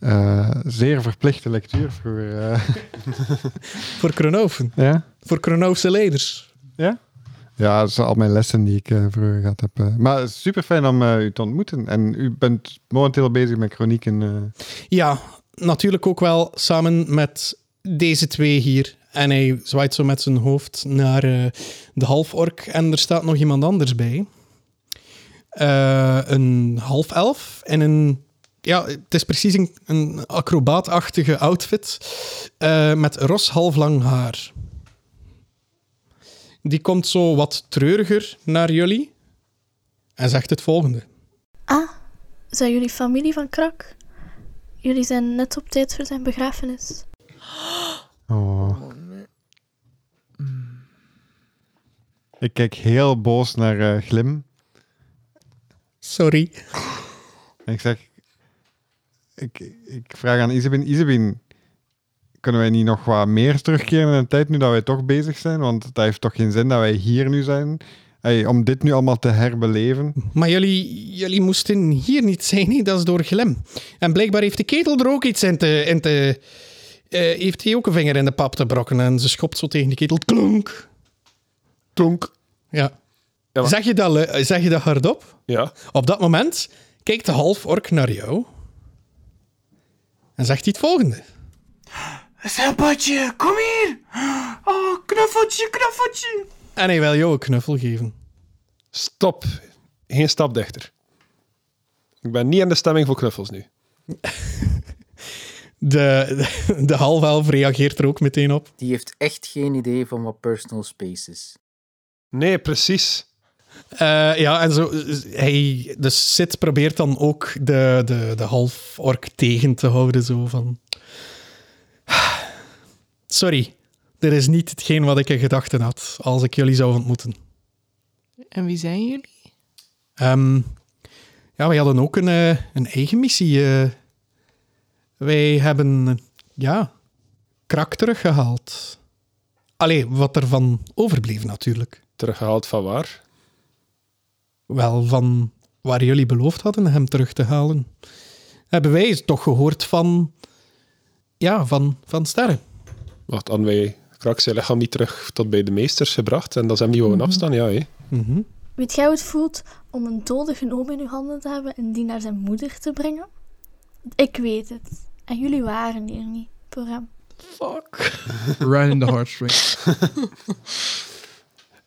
Speaker 2: Eh, zeer verplichte lectuur vroeger. eh.
Speaker 1: Voor Kronoven.
Speaker 2: ja?
Speaker 1: Voor Kronovense leiders.
Speaker 2: Ja? Ja, dat zijn al mijn lessen die ik eh, vroeger gehad heb. eh. Maar het is super fijn om eh, u te ontmoeten. En u bent momenteel bezig met chronieken. eh.
Speaker 1: Ja, natuurlijk ook wel samen met deze twee hier. En hij zwaait zo met zijn hoofd naar eh, de halfork. En er staat nog iemand anders bij. Eh, een half elf in een ja, het is precies een, een acrobaatachtige outfit eh, met ros halflang haar. Die komt zo wat treuriger naar jullie en zegt het volgende.
Speaker 10: Ah, zijn jullie familie van Krak? Jullie zijn net op tijd voor zijn begrafenis.
Speaker 2: Oh. Ik kijk heel boos naar eh, Glim.
Speaker 1: Sorry.
Speaker 2: En ik zeg... Ik, ik vraag aan Isabin, Isabin, kunnen wij niet nog wat meer terugkeren in de tijd nu dat wij toch bezig zijn? Want het heeft toch geen zin dat wij hier nu zijn? Hey, om dit nu allemaal te herbeleven.
Speaker 1: Maar jullie, jullie moesten hier niet zijn, hè? dat is door Glem. En blijkbaar heeft de ketel er ook iets in te... In te eh, heeft hij ook een vinger in de pap te brokken en ze schopt zo tegen de ketel. Klonk.
Speaker 3: Tonk.
Speaker 1: Ja.
Speaker 3: Ja, maar-
Speaker 1: zeg, je dat, le- zeg je dat hardop?
Speaker 3: Ja.
Speaker 1: Op dat moment kijkt de halfork naar jou en zegt hij het volgende.
Speaker 9: Zeppatje, kom hier! Oh, knuffeltje, knuffeltje!
Speaker 1: En hij wil jou een knuffel geven.
Speaker 3: Stop. Geen stap dichter. Ik ben niet in de stemming voor knuffels nu.
Speaker 1: De, de, de halfelf reageert er ook meteen op.
Speaker 9: Die heeft echt geen idee van wat personal space is.
Speaker 3: Nee, precies.
Speaker 1: Eh, ja, en zo, hij, dus Sid probeert dan ook de, de, de halfork tegen te houden. Zo van... Sorry, dit is niet hetgeen wat ik in gedachten had als ik jullie zou ontmoeten.
Speaker 4: En wie zijn jullie?
Speaker 1: Ehm, ja, wij hadden ook een, eh, een eigen missie. eh. wij hebben, eh, ja, krak teruggehaald. Allee, wat ervan overbleef natuurlijk.
Speaker 3: Teruggehaald van waar?
Speaker 1: Wel, van waar jullie beloofd hadden hem terug te halen. Hebben wij toch gehoord van, ja, van, van sterren.
Speaker 3: Wat hadden wij krak zijn lichaam niet terug tot bij de meesters gebracht en dat ze hem niet wouden afstaan? Ja, hé.
Speaker 1: Mhm.
Speaker 10: Weet jij hoe het voelt om een dode genomen in uw handen te hebben en die naar zijn moeder te brengen? Ik weet het. En jullie waren hier niet voor hem.
Speaker 4: Fuck.
Speaker 5: Right in the heartstrings.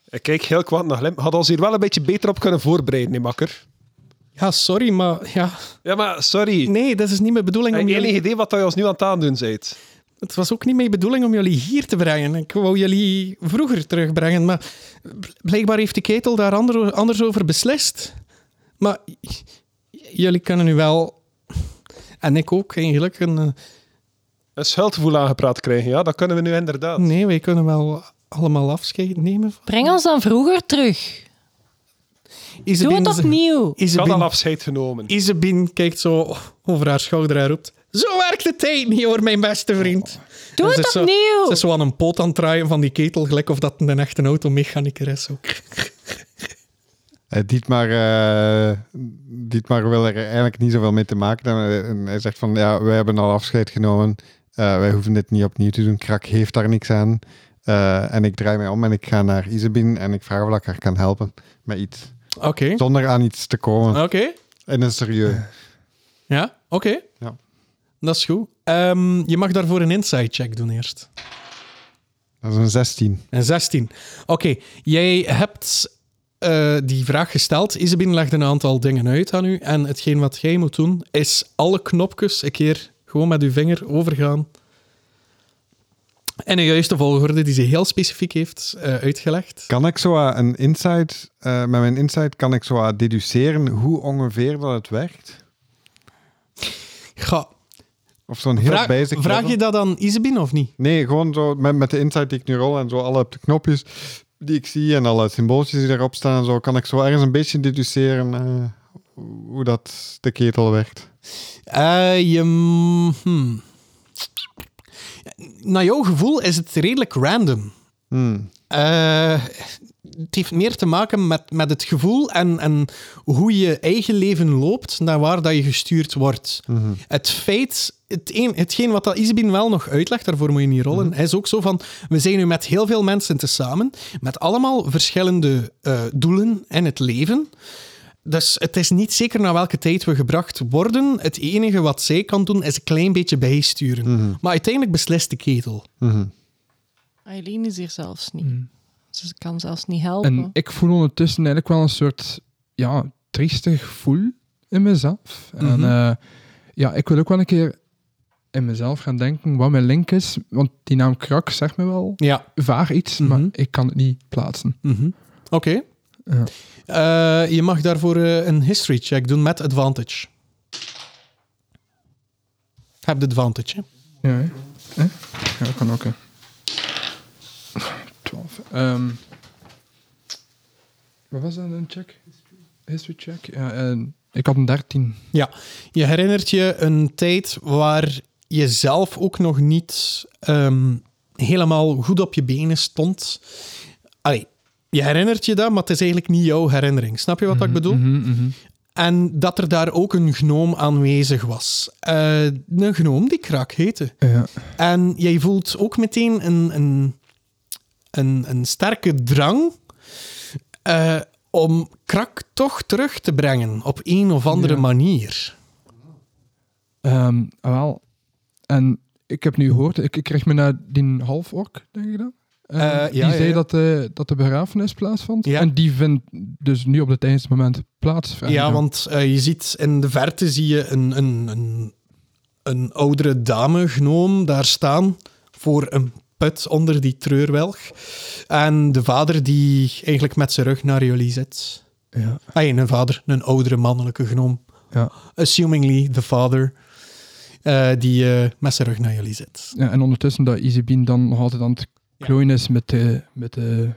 Speaker 3: Ik kijk heel kwaad naar Glim. Had ons hier wel een beetje beter op kunnen voorbereiden, hè, makker.
Speaker 1: Ja, sorry, maar ja...
Speaker 3: Ja, maar sorry. Ik
Speaker 1: Nee, dat is niet mijn bedoeling
Speaker 3: heb
Speaker 1: om
Speaker 3: geen
Speaker 1: jullie...
Speaker 3: idee wat je ons nu aan het aandoen bent.
Speaker 1: Het was ook niet mijn bedoeling om jullie hier te brengen. Ik wou jullie vroeger terugbrengen, maar bl- blijkbaar heeft de ketel daar ander- anders over beslist. Maar j- jullie kunnen nu wel, en ik ook eigenlijk, een, eh,
Speaker 3: Een schuldgevoel aangepraat krijgen, ja, dat kunnen we nu inderdaad.
Speaker 1: nee, wij kunnen wel allemaal afscheid nemen. van-
Speaker 4: Breng ons dan vroeger terug. Doe
Speaker 1: Isabine-
Speaker 4: het opnieuw.
Speaker 3: Ik had al
Speaker 1: Isabine,
Speaker 3: afscheid genomen.
Speaker 1: Isabine kijkt zo over haar schouder en roept... Zo werkt de tijd niet hoor, mijn beste vriend.
Speaker 4: Doe
Speaker 1: En ze
Speaker 4: het
Speaker 1: is zo-
Speaker 4: opnieuw.
Speaker 1: Ze is zo aan een poot aan het draaien van die ketel, gelijk of dat een echte automechanicus is. Ook.
Speaker 2: Eh, Dietmar, eh, Dietmar wil er eigenlijk niet zoveel mee te maken. hebben. En hij zegt van, ja, wij hebben al afscheid genomen. Eh, wij hoeven dit niet opnieuw te doen. Krak heeft daar niks aan. Eh, en ik draai mij om en ik ga naar Isabin en ik vraag of ik haar kan helpen met iets.
Speaker 1: Oké,
Speaker 2: Zonder aan iets te komen.
Speaker 1: oké.
Speaker 2: En een serieus.
Speaker 1: Ja, oké.
Speaker 2: Ja.
Speaker 1: Dat is goed. Ehm, je mag daarvoor een inside check doen eerst.
Speaker 2: Dat is een 16.
Speaker 1: Een 16. Oké, jij hebt eh, die vraag gesteld. Isabine legde een aantal dingen uit aan u. En hetgeen wat jij moet doen, is alle knopjes een keer gewoon met uw vinger overgaan. En de juiste volgorde die ze heel specifiek heeft eh, uitgelegd.
Speaker 2: Kan ik zo eh, een insight, eh, met mijn insight kan ik zo eh, deduceren hoe ongeveer dat het werkt?
Speaker 1: Ga,
Speaker 2: Of zo'n heel
Speaker 1: vraag,
Speaker 2: basic
Speaker 1: vraag
Speaker 2: level?
Speaker 1: je dat aan Isabine of niet?
Speaker 2: Nee, gewoon zo met, met de insight die ik nu rol en zo alle knopjes die ik zie en alle symbooltjes die erop staan en zo, kan ik zo ergens een beetje deduceren eh, hoe dat de ketel werkt.
Speaker 1: Eh, je, mm, hmm. Naar jouw gevoel is het redelijk random.
Speaker 2: Hmm.
Speaker 1: Eh, het heeft meer te maken met, met het gevoel en, en hoe je eigen leven loopt naar waar dat je gestuurd wordt. Het feit, het een, hetgeen wat dat Isabin wel nog uitlegt, daarvoor moet je niet rollen, is ook zo van, we zijn nu met heel veel mensen tezamen, met allemaal verschillende eh, doelen in het leven. Dus het is niet zeker naar welke tijd we gebracht worden. Het enige wat zij kan doen, is een klein beetje bijsturen. Maar uiteindelijk beslist de ketel.
Speaker 4: Eileen is hier zelfs niet.
Speaker 3: Hmm.
Speaker 4: Ze kan zelfs niet helpen.
Speaker 5: En ik voel ondertussen
Speaker 2: Mhm.
Speaker 5: eigenlijk wel een soort ja, triestig gevoel in mezelf. En eh, Ja, ik wil ook wel een keer in mezelf gaan denken wat mijn link is. Want die naam Krak zegt me wel
Speaker 1: Ja.
Speaker 5: vaag iets, maar ik kan het niet plaatsen.
Speaker 1: Mhm. Oké.
Speaker 5: Ja.
Speaker 1: Eh, je mag daarvoor eh, een history check doen met advantage. Heb de advantage. hè?
Speaker 5: Ja, hè? Hè? ja dat kan ook. hè. 12. Ehm, wat was dat, een check? History check? Ja, eh, ik had een 13.
Speaker 1: Ja, je herinnert je een tijd waar je zelf ook nog niet ehm, helemaal goed op je benen stond. Allee, je herinnert je dat, maar het is eigenlijk niet jouw herinnering. Snap je wat ik bedoel?
Speaker 5: mhm.
Speaker 1: En dat er daar ook een gnoom aanwezig was. Eh, een gnoom die Krak heette.
Speaker 5: Ja.
Speaker 1: En jij voelt ook meteen een, een, een, een sterke drang eh, om Krak toch terug te brengen op een of andere
Speaker 5: Ja.
Speaker 1: manier.
Speaker 5: Ehm, wel, en ik heb nu gehoord, ik, ik kreeg me naar die halfork, denk ik dan. Eh,
Speaker 1: ja,
Speaker 5: die
Speaker 1: ja,
Speaker 5: zei
Speaker 1: ja.
Speaker 5: Dat, de, dat de begrafenis plaatsvond.
Speaker 1: Ja.
Speaker 5: En die vindt dus nu op het eindste moment plaats.
Speaker 1: Ja,
Speaker 5: vraag ik dan.
Speaker 1: want eh, je ziet in de verte zie je een, een, een, een oudere dame, gnoom, daar staan voor een put onder die treurwelg. En de vader die eigenlijk met zijn rug naar jullie zit.
Speaker 5: Ja.
Speaker 1: Ah, een vader, een oudere mannelijke gnoom.
Speaker 5: Ja.
Speaker 1: Assumingly the father. eh, die eh, met zijn rug naar jullie zit.
Speaker 5: Ja, en ondertussen dat Izebien dan nog altijd aan het
Speaker 1: Ja.
Speaker 5: klooien is met de, met de,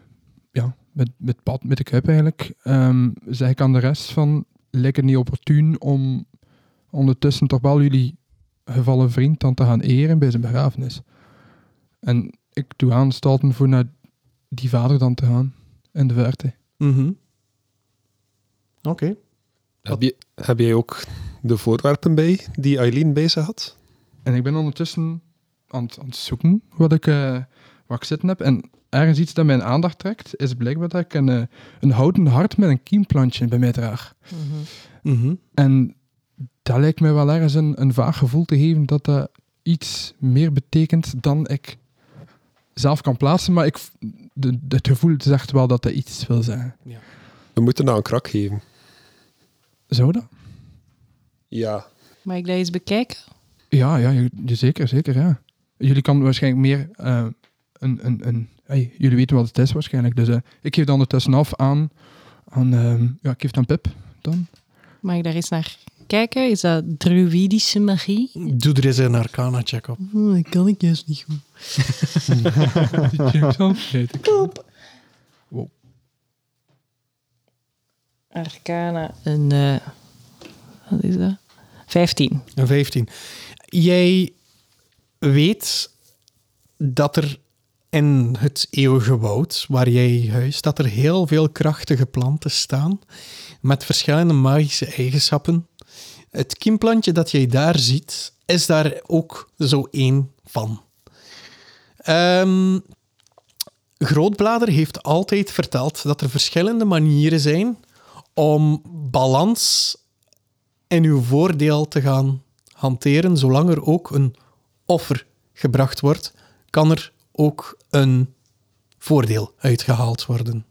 Speaker 5: ja, met, met pad, met de kuip eigenlijk, ehm, zeg ik aan de rest van, lijkt het niet opportun om ondertussen toch wel jullie gevallen vriend dan te gaan eren bij zijn begrafenis. En ik doe aanstalten voor naar die vader dan te gaan, in de verte.
Speaker 1: Mhm. Oké.
Speaker 3: Heb, je, heb jij ook de voorwerpen bij die Eileen bij zich had?
Speaker 5: En ik ben ondertussen aan het, aan het zoeken wat ik, eh wat ik zitten heb. En ergens iets dat mijn aandacht trekt, is blijkbaar dat ik een, eh, een houten hart met een kiemplantje bij mij draag.
Speaker 1: Mhm.
Speaker 5: En dat lijkt mij wel ergens een, een vaag gevoel te geven dat dat iets meer betekent dan ik zelf kan plaatsen. Maar ik, v- de, de- het gevoel zegt wel dat dat iets wil zeggen.
Speaker 3: We moeten nou een krak geven.
Speaker 5: Zou dat?
Speaker 3: Ja.
Speaker 4: Mag ik dat eens bekijken?
Speaker 5: Ja, ja, je- je- zeker, zeker, ja. Jullie kan waarschijnlijk meer eh, een... een, een hey, jullie weten wat het is waarschijnlijk, dus eh, ik geef dan ondertussen af aan... aan ehm, ja, ik geef dan Pip dan.
Speaker 4: Mag ik daar eens naar kijken? Is dat druïdische magie?
Speaker 1: Doe er eens een arcana-check op.
Speaker 4: Hm, dat kan ik juist niet goed.
Speaker 5: Die check dan. Nee, ik-
Speaker 4: Arcana. Een, eh, wat is dat? 15.
Speaker 1: Een 15. Jij weet dat er in het eeuwige woud waar jij huist, dat er heel veel krachtige planten staan met verschillende magische eigenschappen. Het kiemplantje dat jij daar ziet, is daar ook zo één van. Ehm, Grootblader heeft altijd verteld dat er verschillende manieren zijn om balans in uw voordeel te gaan hanteren, zolang er ook een offer gebracht wordt, kan er ook een voordeel uitgehaald worden.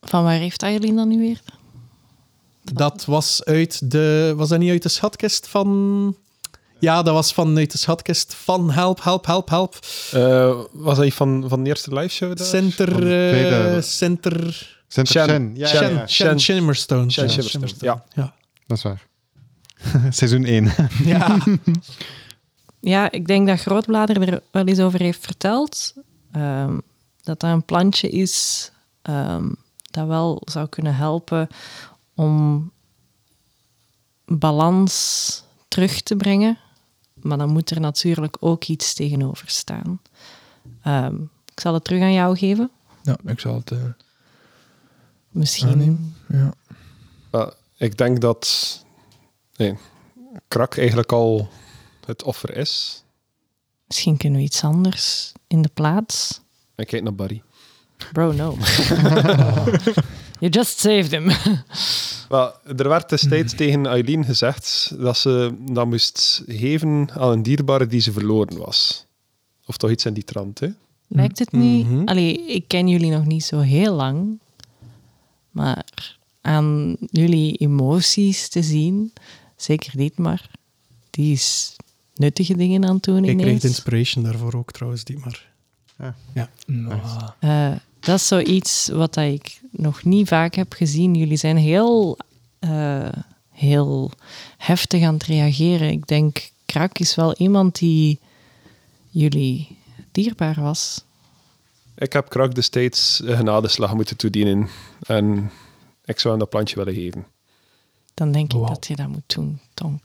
Speaker 4: Van waar heeft Aileen dan nu weer?
Speaker 1: Dat was uit de. Was dat niet uit de schatkist van. Ja, dat was vanuit de schatkist van Help, Help, Help, Help.
Speaker 3: Eh, was hij van, van de eerste live show daar?
Speaker 1: Center.
Speaker 2: Van de
Speaker 1: eh,
Speaker 2: tweede-
Speaker 1: Center.
Speaker 2: Center
Speaker 3: Shen.
Speaker 2: Shen. Ja, ja,
Speaker 1: Shen,
Speaker 2: ja.
Speaker 1: Shen,
Speaker 3: Shen-
Speaker 1: Shimmerstone.
Speaker 3: Shen
Speaker 1: Ja,
Speaker 3: Shimmerstone,
Speaker 1: Ja.
Speaker 2: Dat is waar. Seizoen 1.
Speaker 1: ja.
Speaker 4: Ja, ik denk dat Grootblader er wel eens over heeft verteld. ehm, dat dat een plantje is ehm, dat wel zou kunnen helpen om balans terug te brengen. Maar dan moet er natuurlijk ook iets tegenover staan. Ehm, ik zal het terug aan jou geven.
Speaker 5: ja, ik zal het... eh,
Speaker 4: Misschien.
Speaker 5: ja.
Speaker 3: Ja, ik denk dat nee, krak eigenlijk al het offer is.
Speaker 4: Misschien kunnen we iets anders in de plaats.
Speaker 3: Ik kijk naar Barry.
Speaker 4: Bro, no. you just saved him.
Speaker 3: Wel, er werd destijds tegen Eileen gezegd dat ze dat moest geven aan een dierbare die ze verloren was. Of toch iets in die trant, hè?
Speaker 4: Lijkt het niet? Allee, ik ken jullie nog niet zo heel lang. Maar aan jullie emoties te zien. Zeker niet, maar die is nuttige dingen aan het
Speaker 1: Ik
Speaker 4: doen
Speaker 1: kreeg
Speaker 4: ineens.
Speaker 1: de inspiration daarvoor ook trouwens, die maar.
Speaker 2: Ja.
Speaker 1: Ja.
Speaker 4: Eh, dat is zoiets wat dat ik nog niet vaak heb gezien. Jullie zijn heel, eh, heel heftig aan het reageren. Ik denk, Krak is wel iemand die jullie dierbaar was.
Speaker 3: Ik heb Krak destijds een genadeslag moeten toedienen. En ik zou hem dat plantje willen geven.
Speaker 4: Dan denk ik dat je dat moet doen, Tonk.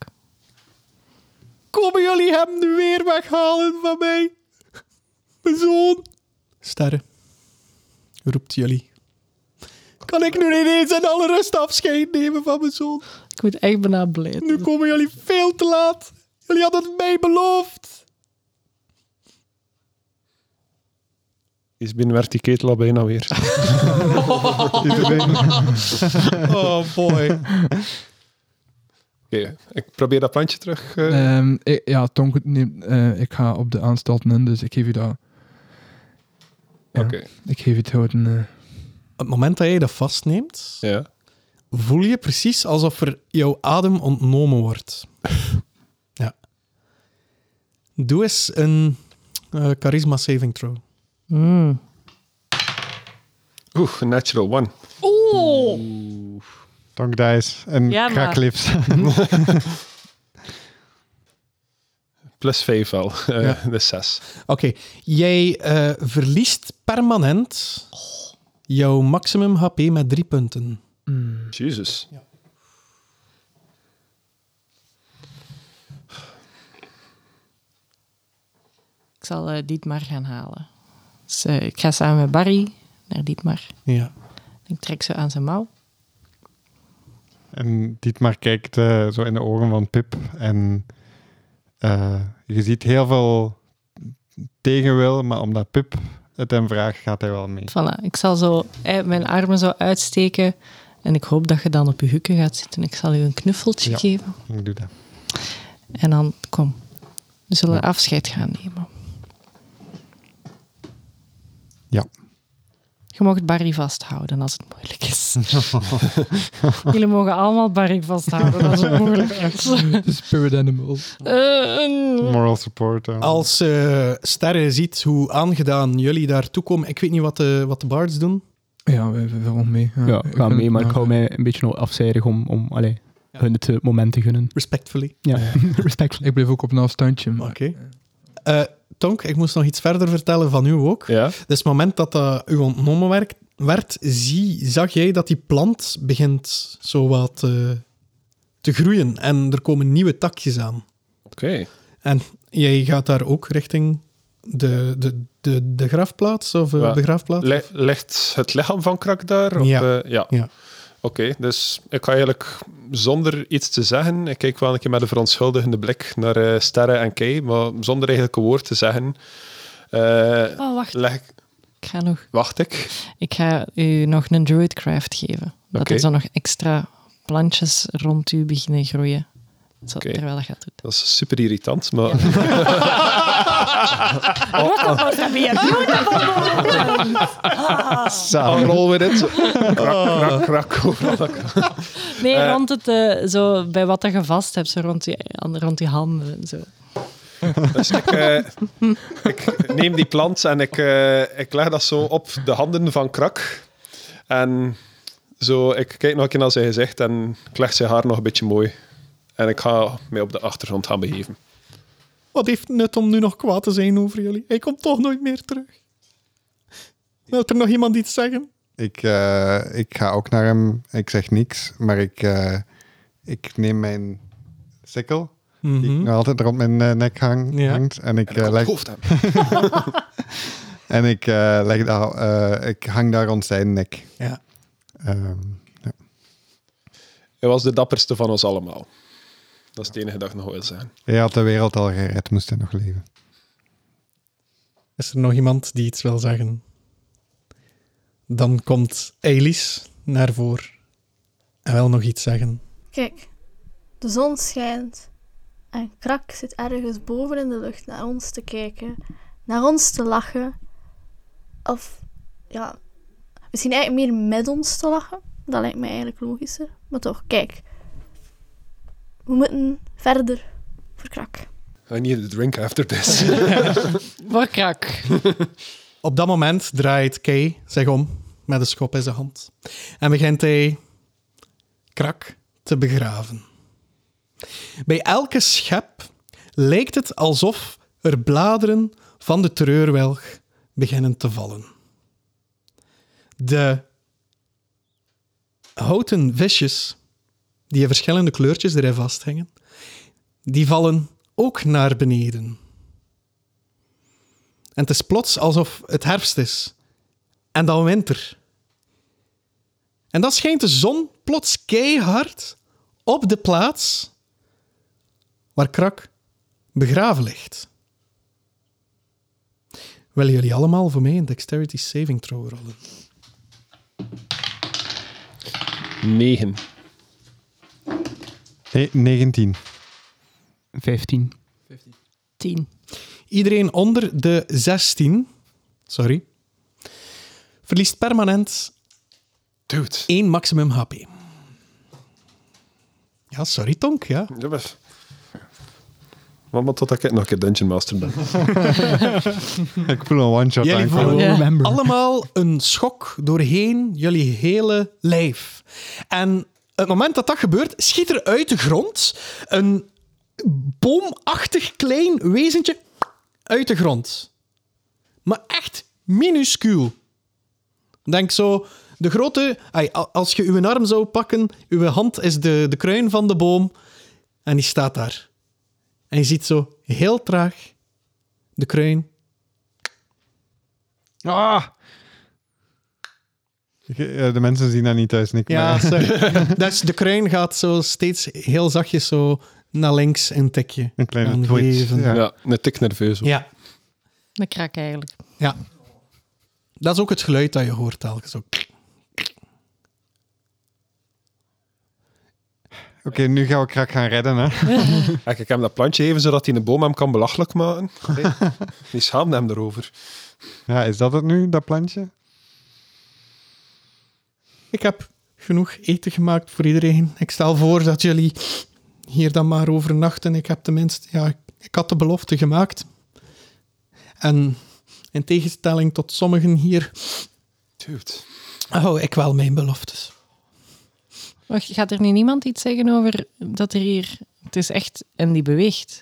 Speaker 1: Komen jullie hem nu weer weghalen van mij? Mijn zoon. Sterren, roept jullie. Kan ik nu ineens in alle rust afscheid nemen van mijn zoon?
Speaker 4: Ik word echt bijna blij.
Speaker 1: Nu komen jullie veel te laat. Jullie hadden het mij beloofd.
Speaker 3: Is binnen werd die ketel al bijna weer.
Speaker 1: Oh boy.
Speaker 3: Oké, ik probeer dat plantje terug. eh,
Speaker 5: Ehm, ik, ja, Tonk, neemt, eh, ik ga op de aanstalt in, dus ik geef je dat. ja.
Speaker 3: Oké,
Speaker 5: Ik geef je het houten. eh,
Speaker 1: Het moment dat jij dat vastneemt,
Speaker 3: ja.
Speaker 1: voel je precies alsof er jouw adem ontnomen wordt. ja. Doe eens een eh, charisma saving throw.
Speaker 4: Mm.
Speaker 3: Oeh, een natural one.
Speaker 2: Tonk dice en
Speaker 4: Ja,
Speaker 2: ja,
Speaker 4: maar-
Speaker 3: Plus vijf wel. Eh
Speaker 1: Ja.
Speaker 3: Dus zes.
Speaker 1: Oké, jij eh, verliest permanent jouw maximum HP met drie punten.
Speaker 3: Jezus.
Speaker 4: Ik zal eh, Dietmar gaan halen. Dus, eh, ik ga samen met Barry naar Dietmar.
Speaker 1: Ja.
Speaker 4: Ik trek ze aan zijn mouw.
Speaker 2: En Dietmar kijkt eh, zo in de ogen van Pip. En eh, je ziet heel veel tegenwil, maar omdat Pip het hem vraagt, gaat hij wel mee.
Speaker 4: Voilà, ik zal zo eh, mijn armen zo uitsteken. En ik hoop dat je dan op je hukken gaat zitten. Ik zal u een knuffeltje
Speaker 2: Ja.
Speaker 4: geven.
Speaker 2: Ik doe dat.
Speaker 4: En dan, kom. We zullen afscheid gaan nemen.
Speaker 2: Ja.
Speaker 4: Je mag Barry vasthouden als het moeilijk is. Jullie mogen allemaal Barry vasthouden als het moeilijk is.
Speaker 5: Spirit Animal.
Speaker 4: Eh, een-
Speaker 2: Moral support. eh.
Speaker 1: Als eh Sterre ziet hoe aangedaan jullie daartoe komen, ik weet niet wat de, wat de bards doen.
Speaker 5: Ja, we we willen mee.
Speaker 7: Ja, ik ga
Speaker 5: vind
Speaker 7: mee,
Speaker 5: het
Speaker 7: maar ik
Speaker 5: nou-
Speaker 7: hou mij een beetje nog afzijdig om, om allee, hun het eh, moment te gunnen.
Speaker 1: Respectfully.
Speaker 7: Ja, respect.
Speaker 5: Ik bleef ook op een afstandje.
Speaker 1: Oké.
Speaker 5: Maar
Speaker 1: Eh, Tonk, ik moest nog iets verder vertellen van u ook.
Speaker 3: Ja.
Speaker 1: Dus het moment dat dat u ontnomen werk- werd, zie, zag jij dat die plant begint zo wat eh, te groeien. En er komen nieuwe takjes aan.
Speaker 3: Oké.
Speaker 1: En jij gaat daar ook richting de, de, de, de grafplaats? Of eh,
Speaker 3: Ja.
Speaker 1: de graafplaats?
Speaker 3: Le- ligt het lichaam van Krak daar? Of,
Speaker 1: Ja.
Speaker 3: eh, ja.
Speaker 1: Ja.
Speaker 3: Oké, dus ik ga eigenlijk zonder iets te zeggen, ik kijk wel een keer met een verontschuldigende blik naar eh Sterren en Kei, maar zonder eigenlijk een woord te zeggen, eh,
Speaker 4: Oh, wacht.
Speaker 3: leg ik-
Speaker 4: Ik ga, nog,
Speaker 3: wacht ik.
Speaker 4: ik ga u nog een druidcraft geven. Dat
Speaker 3: Oké.
Speaker 4: er zo nog extra plantjes rond u beginnen groeien. Zo,
Speaker 3: Oké.
Speaker 4: Terwijl dat gaat doen.
Speaker 3: Dat is super irritant, maar Oh,
Speaker 4: Ah,
Speaker 3: Ah.
Speaker 2: Zalig.
Speaker 3: Al Oh, rol weer in. zo. Krak, krak, krak. overal dat krak.
Speaker 4: Nee, rond het, eh, zo, bij wat dat je vast hebt, zo rond, je, rond je handen en zo.
Speaker 3: Dus ik, eh, ik neem die plant en ik, eh, ik leg dat zo op de handen van Krak. En zo, ik kijk nog een keer naar zijn gezicht en ik leg zijn haar nog een beetje mooi. En ik ga mij op de achtergrond gaan begeven.
Speaker 1: Wat heeft het nut om nu nog kwaad te zijn over jullie? Hij komt toch nooit meer terug. Wil er nog iemand iets zeggen?
Speaker 2: Ik, eh, ik ga ook naar hem. Ik zeg niks, maar ik, eh, ik neem mijn sikkel, die ik nog altijd rond mijn eh, nek hang,
Speaker 1: Mhm. Ja.
Speaker 2: hangt. En ik,
Speaker 3: En
Speaker 2: eh,
Speaker 3: ik op het
Speaker 2: leg,
Speaker 3: hoofd aan.
Speaker 2: en ik, eh, leg daar, eh, ik hang daar rond zijn nek.
Speaker 1: Ja.
Speaker 2: Ehm, ja.
Speaker 3: Hij was de dapperste van ons allemaal. Dat is het enige dat ik nog wil zeggen.
Speaker 2: Hij had de wereld al gered, moest hij nog leven.
Speaker 1: Is er nog iemand die iets wil zeggen? Dan komt Elis naar voren en wil nog iets zeggen.
Speaker 10: Kijk, de zon schijnt en Krak zit ergens boven in de lucht naar ons te kijken, naar ons te lachen. Of ja, misschien eigenlijk meer met ons te lachen. Dat lijkt mij eigenlijk logischer. Maar toch, kijk. We moeten verder voor krak.
Speaker 3: I need a drink after this.
Speaker 4: Voor krak.
Speaker 1: Op dat moment draait Kay zich om met een schop in zijn hand. En begint hij krak te begraven. Bij elke schep lijkt het alsof er bladeren van de treurwelg beginnen te vallen. De houten visjes die in verschillende kleurtjes erin vasthangen, die vallen ook naar beneden. En het is plots alsof het herfst is. En dan winter. En dan schijnt de zon plots keihard op de plaats waar Krak begraven ligt. Willen jullie allemaal voor mij een dexterity saving throw rollen?
Speaker 3: Negen.
Speaker 2: Ne- 19.
Speaker 6: 15.
Speaker 4: Tien.
Speaker 1: Iedereen onder de 16, sorry, verliest permanent
Speaker 3: Dude.
Speaker 1: één maximum HP. Ja, sorry Tonk, ja.
Speaker 3: Ja, maar- Maar, maar totdat ik nog een keer Dungeon Master ben.
Speaker 2: Ik voel een one-shot
Speaker 1: Jullie
Speaker 2: aankomen.
Speaker 1: voelen
Speaker 4: Ja.
Speaker 6: Remember.
Speaker 1: allemaal een schok doorheen jullie hele lijf. En het moment dat dat gebeurt, schiet er uit de grond een boomachtig klein wezentje uit de grond. Maar echt minuscuul. Denk zo, de grote... ai, a- Als je uw arm zou pakken, uw hand is de, de kruin van de boom. En die staat daar. En je ziet zo heel traag de kruin
Speaker 5: Ah,
Speaker 2: Ik- eh, De mensen zien dat niet thuis, Nick.
Speaker 1: Ja,
Speaker 2: maar-
Speaker 1: sorry. dus de kruin gaat zo steeds heel zachtjes zo naar links een tikje.
Speaker 2: Een kleine
Speaker 1: aan
Speaker 2: twitch.
Speaker 1: geven.
Speaker 2: Ja.
Speaker 3: Ja, een tik nerveus. hoor.
Speaker 1: Ja,
Speaker 4: Een krak eigenlijk.
Speaker 1: ja. Dat is ook het geluid dat je hoort telkens. Ook.
Speaker 2: Oké, nu gaan we krak gaan redden, hè.
Speaker 3: Kijk, ik heb dat plantje even, zodat hij een boom hem kan belachelijk maken. Allee, Die schaamt hem erover.
Speaker 2: Ja, is dat het nu, dat plantje?
Speaker 1: Ik heb genoeg eten gemaakt voor iedereen. Ik stel voor dat jullie hier dan maar overnachten. Ik heb tenminste, ja, ik- ik had de belofte gemaakt. En in tegenstelling tot sommigen hier,
Speaker 3: Dude.
Speaker 1: hou ik wel mijn beloftes.
Speaker 4: Wacht, gaat er nu niemand iets zeggen over dat er hier... Het is echt... En die beweegt.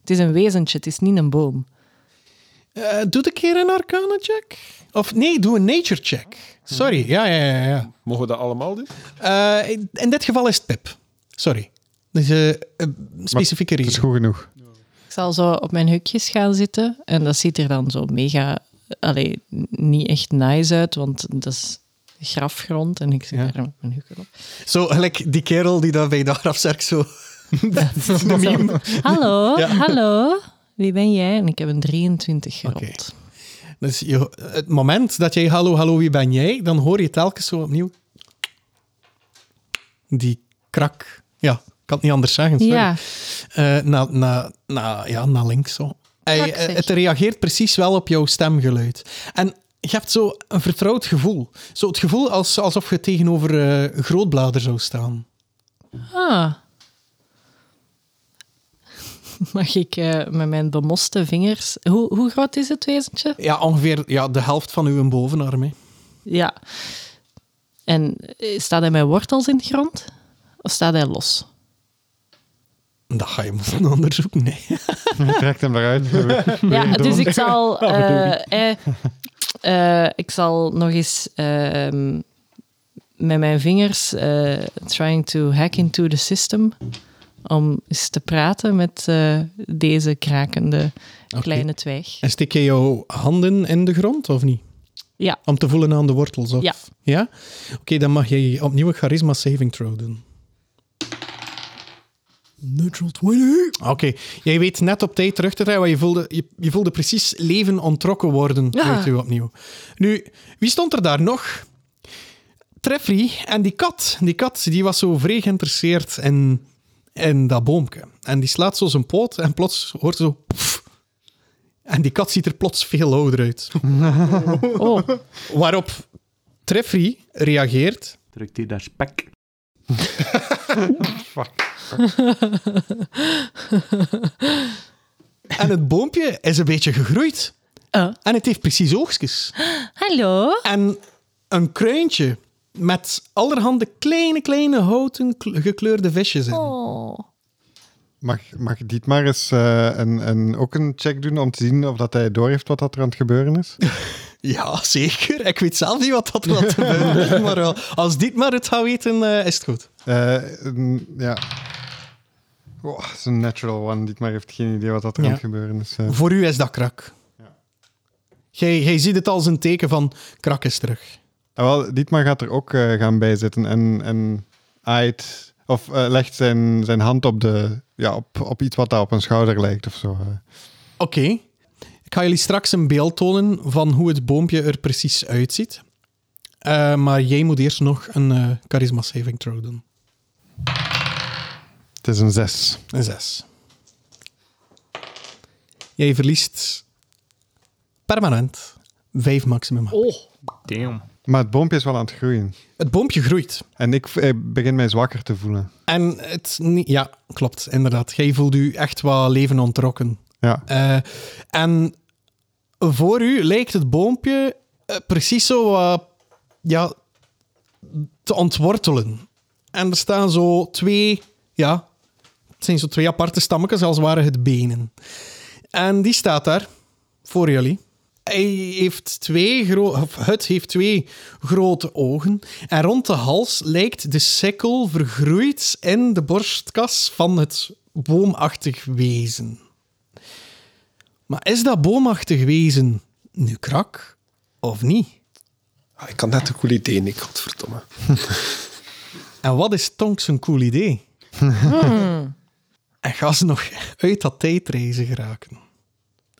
Speaker 4: Het is een wezentje, het is niet een boom.
Speaker 1: Eh, doe een keer een arcana check? Of nee, doe een nature check. Sorry, ja, ja, ja. ja.
Speaker 3: Mogen we dat allemaal doen?
Speaker 1: Eh, in- in dit geval is het Pip. Sorry. Dus eh een specifieke
Speaker 2: Het is
Speaker 1: reden.
Speaker 2: goed genoeg.
Speaker 4: Ik zal zo op mijn hukjes gaan zitten en dat ziet er dan zo mega... Allee, niet echt nice uit, want dat is grafgrond en ik zit
Speaker 1: Ja.
Speaker 4: daar met mijn hukken op.
Speaker 1: Zo, gelijk die kerel die daar bij de grafzerk zo... de meme.
Speaker 4: Hallo, hallo. Wie ben jij? En ik heb een 23 gerold.
Speaker 1: Oké. Dus je, het moment dat jij hallo, hallo, wie ben jij? Dan hoor je telkens zo opnieuw... Die krak. Ja, ik kan het niet anders zeggen. Sorry.
Speaker 4: Ja,
Speaker 1: Eh, na, na, na, ja, naar links zo. Hij,
Speaker 4: Kak, zeg.
Speaker 1: eh, het reageert precies wel op jouw stemgeluid. En je hebt zo een vertrouwd gevoel. Zo het gevoel als, alsof je tegenover eh, grootblader zou staan.
Speaker 4: Ah. Mag ik eh, met mijn bemoste vingers... Hoe, hoe groot is het wezentje?
Speaker 1: Ja, ongeveer ja, de helft van uw bovenarm. hè.
Speaker 4: Ja. En eh, staat hij met wortels in de grond? Of staat hij los?
Speaker 1: Dat ga je moeten onderzoeken. Nee.
Speaker 2: Je trekt hem eruit.
Speaker 4: Ja, dus ik zal...
Speaker 2: Nou,
Speaker 4: eh, eh, eh, ik zal nog eens ehm, met mijn vingers eh, trying to hack into the system om eens te praten met eh, deze krakende kleine twijg.
Speaker 1: En steek je jouw handen in de grond of niet?
Speaker 4: Ja.
Speaker 1: Om te voelen aan de wortels? Of...
Speaker 4: Ja.
Speaker 1: Ja? Oké, dan mag jij opnieuw een charisma saving throw doen. Neutral 20. Oké, jij weet net op tijd terug te draaien, want je voelde, je, je voelde precies leven ontrokken worden
Speaker 4: Ja.
Speaker 1: uit u opnieuw. Nu, wie stond er daar nog? Treffy en die kat, die kat, die was zo vrij geïnteresseerd in, in dat boomke. En die slaat zo zijn poot en plots hoort ze zo... pff. En die kat ziet er plots veel ouder uit.
Speaker 4: Oh,
Speaker 1: Waarop Treffy reageert
Speaker 11: Drukt hier daar spek.
Speaker 3: Fuck.
Speaker 1: En het boompje is een beetje gegroeid. En het heeft precies oogstjes.
Speaker 4: Hallo.
Speaker 1: En een kruintje met allerhande kleine, kleine houten kle- gekleurde visjes in.
Speaker 4: Oh.
Speaker 2: Mag, mag Dietmar eens eh, een, een, ook een check doen om te zien of dat hij doorheeft wat dat er aan het gebeuren is?
Speaker 1: Ja, zeker. Ik weet zelf niet wat dat wat gebeurt. maar wel, als dit maar het gaat weten, eh, is het goed.
Speaker 2: Eh, een- ja. Oh, dat is een natural one. Dietmar heeft geen idee wat dat er
Speaker 1: Ja.
Speaker 2: aan het gebeuren is. eh.
Speaker 1: Voor u is dat krak. Jij jij ziet het als een teken van krak is terug.
Speaker 2: Ah, wel, Dietmar gaat er ook eh, gaan bij zitten en, en aait, of eh, legt zijn, zijn hand op, de, ja, op, op iets wat daar op een schouder lijkt of zo. eh.
Speaker 1: Oké. Ik ga jullie straks een beeld tonen van hoe het boompje er precies uitziet. Eh, maar jij moet eerst nog een eh, charisma saving throw doen.
Speaker 2: Het is een zes.
Speaker 1: Een zes. Jij verliest permanent vijf maximum.
Speaker 6: Oh,
Speaker 2: Damn. Maar het boompje is wel aan het groeien.
Speaker 1: Het boompje groeit.
Speaker 2: En ik eh, begin mij zwakker te voelen.
Speaker 1: En het... ni- Ja, klopt, inderdaad. Jij voelt u echt wat leven ontrokken.
Speaker 2: Ja.
Speaker 1: Eh, en voor u lijkt het boompje eh, precies zo eh, ja, te ontwortelen. En er staan zo twee, ja, het zijn zo twee aparte stammetjes, als waren het benen. En die staat daar voor jullie. Hij heeft twee gro- of het heeft twee grote ogen. En rond de hals lijkt de sikkel vergroeid in de borstkas van het boomachtig wezen. Maar is dat boomachtig wezen nu krak of niet?
Speaker 3: Ah, ik had net een cool idee, Nick. Godverdomme.
Speaker 1: En wat is Tonks een cool idee?
Speaker 3: Hmm.
Speaker 1: En gaan ze nog uit dat tijdreizen geraken?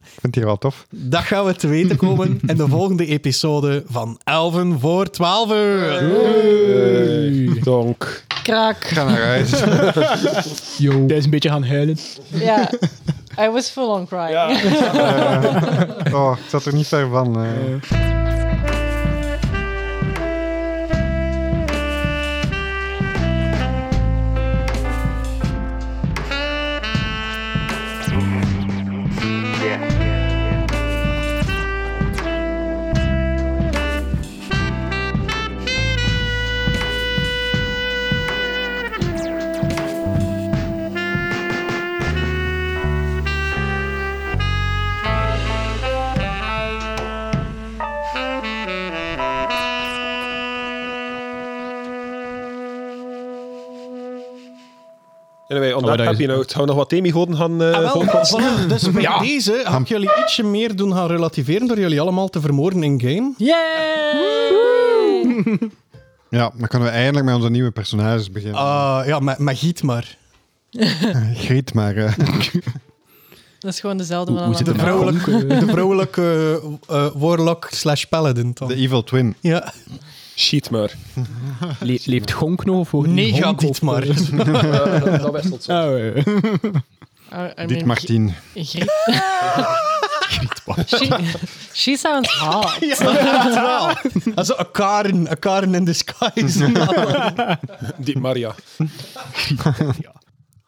Speaker 2: Ik vind die wel tof.
Speaker 1: Dat gaan we te weten komen in de volgende episode van Elven voor 12 uur.
Speaker 3: Donk.
Speaker 4: Krak.
Speaker 2: Ga naar huis.
Speaker 6: Yo. Hij is een beetje gaan huilen.
Speaker 4: Ja. I was full on crying.
Speaker 2: Eh, oh, ik zat er niet ver van. eh.
Speaker 3: Anyway, on that happy note. Gaan we nog wat themigoden gaan eh,
Speaker 1: Ah, wel,
Speaker 3: volkotsen?
Speaker 1: voilà. Dus met
Speaker 3: Ja.
Speaker 1: deze ga ik jullie ietsje meer doen gaan relativeren door jullie allemaal te vermoorden in game.
Speaker 4: Yay!
Speaker 2: Ja, dan kunnen we eindelijk met onze nieuwe personages beginnen.
Speaker 1: Ah, ja, maar, maar giet maar.
Speaker 2: Griet maar. eh.
Speaker 4: Dat is gewoon dezelfde man.
Speaker 1: de, vrouwelijke, de vrouwelijke eh, eh, warlock slash paladin dan.
Speaker 2: The Evil Twin.
Speaker 1: Ja.
Speaker 3: Sheet maar.
Speaker 6: Le- leeft Gonk nog? Of
Speaker 1: Nee, gaat dit maar.
Speaker 7: Oh,
Speaker 3: dat wisselt zo.
Speaker 2: Dit mag tien.
Speaker 4: She, she sounds hot.
Speaker 1: inderdaad wel. Dat is een Karen, een Karen in disguise.
Speaker 3: Die Maria.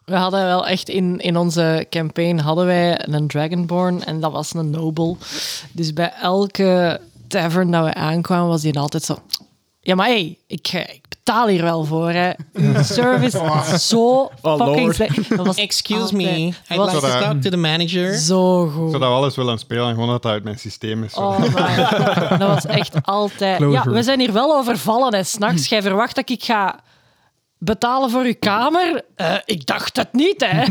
Speaker 4: We hadden wel echt in, in onze campaign hadden wij een Dragonborn en dat was een Noble. Dus bij elke tavern dat we aankwamen was die altijd zo... Ja, maar hey, ik, eh, ik betaal hier wel voor, hè. Uw service is zo fucking
Speaker 1: Lord.
Speaker 4: slecht. Dat was
Speaker 1: Excuse me,
Speaker 4: altijd-
Speaker 1: I'd
Speaker 4: was
Speaker 1: like to
Speaker 2: Zodat-
Speaker 1: talk to the manager.
Speaker 4: Zo goed.
Speaker 2: Zodat we alles willen aan spelen en gewoon dat dat uit mijn systeem is.
Speaker 4: Oh my God. Dat was echt altijd...
Speaker 2: Closure.
Speaker 4: Ja, we zijn hier wel overvallen, hè, s'nachts. Jij verwacht dat ik ga betalen voor uw kamer? Eh, ik dacht het niet, hè.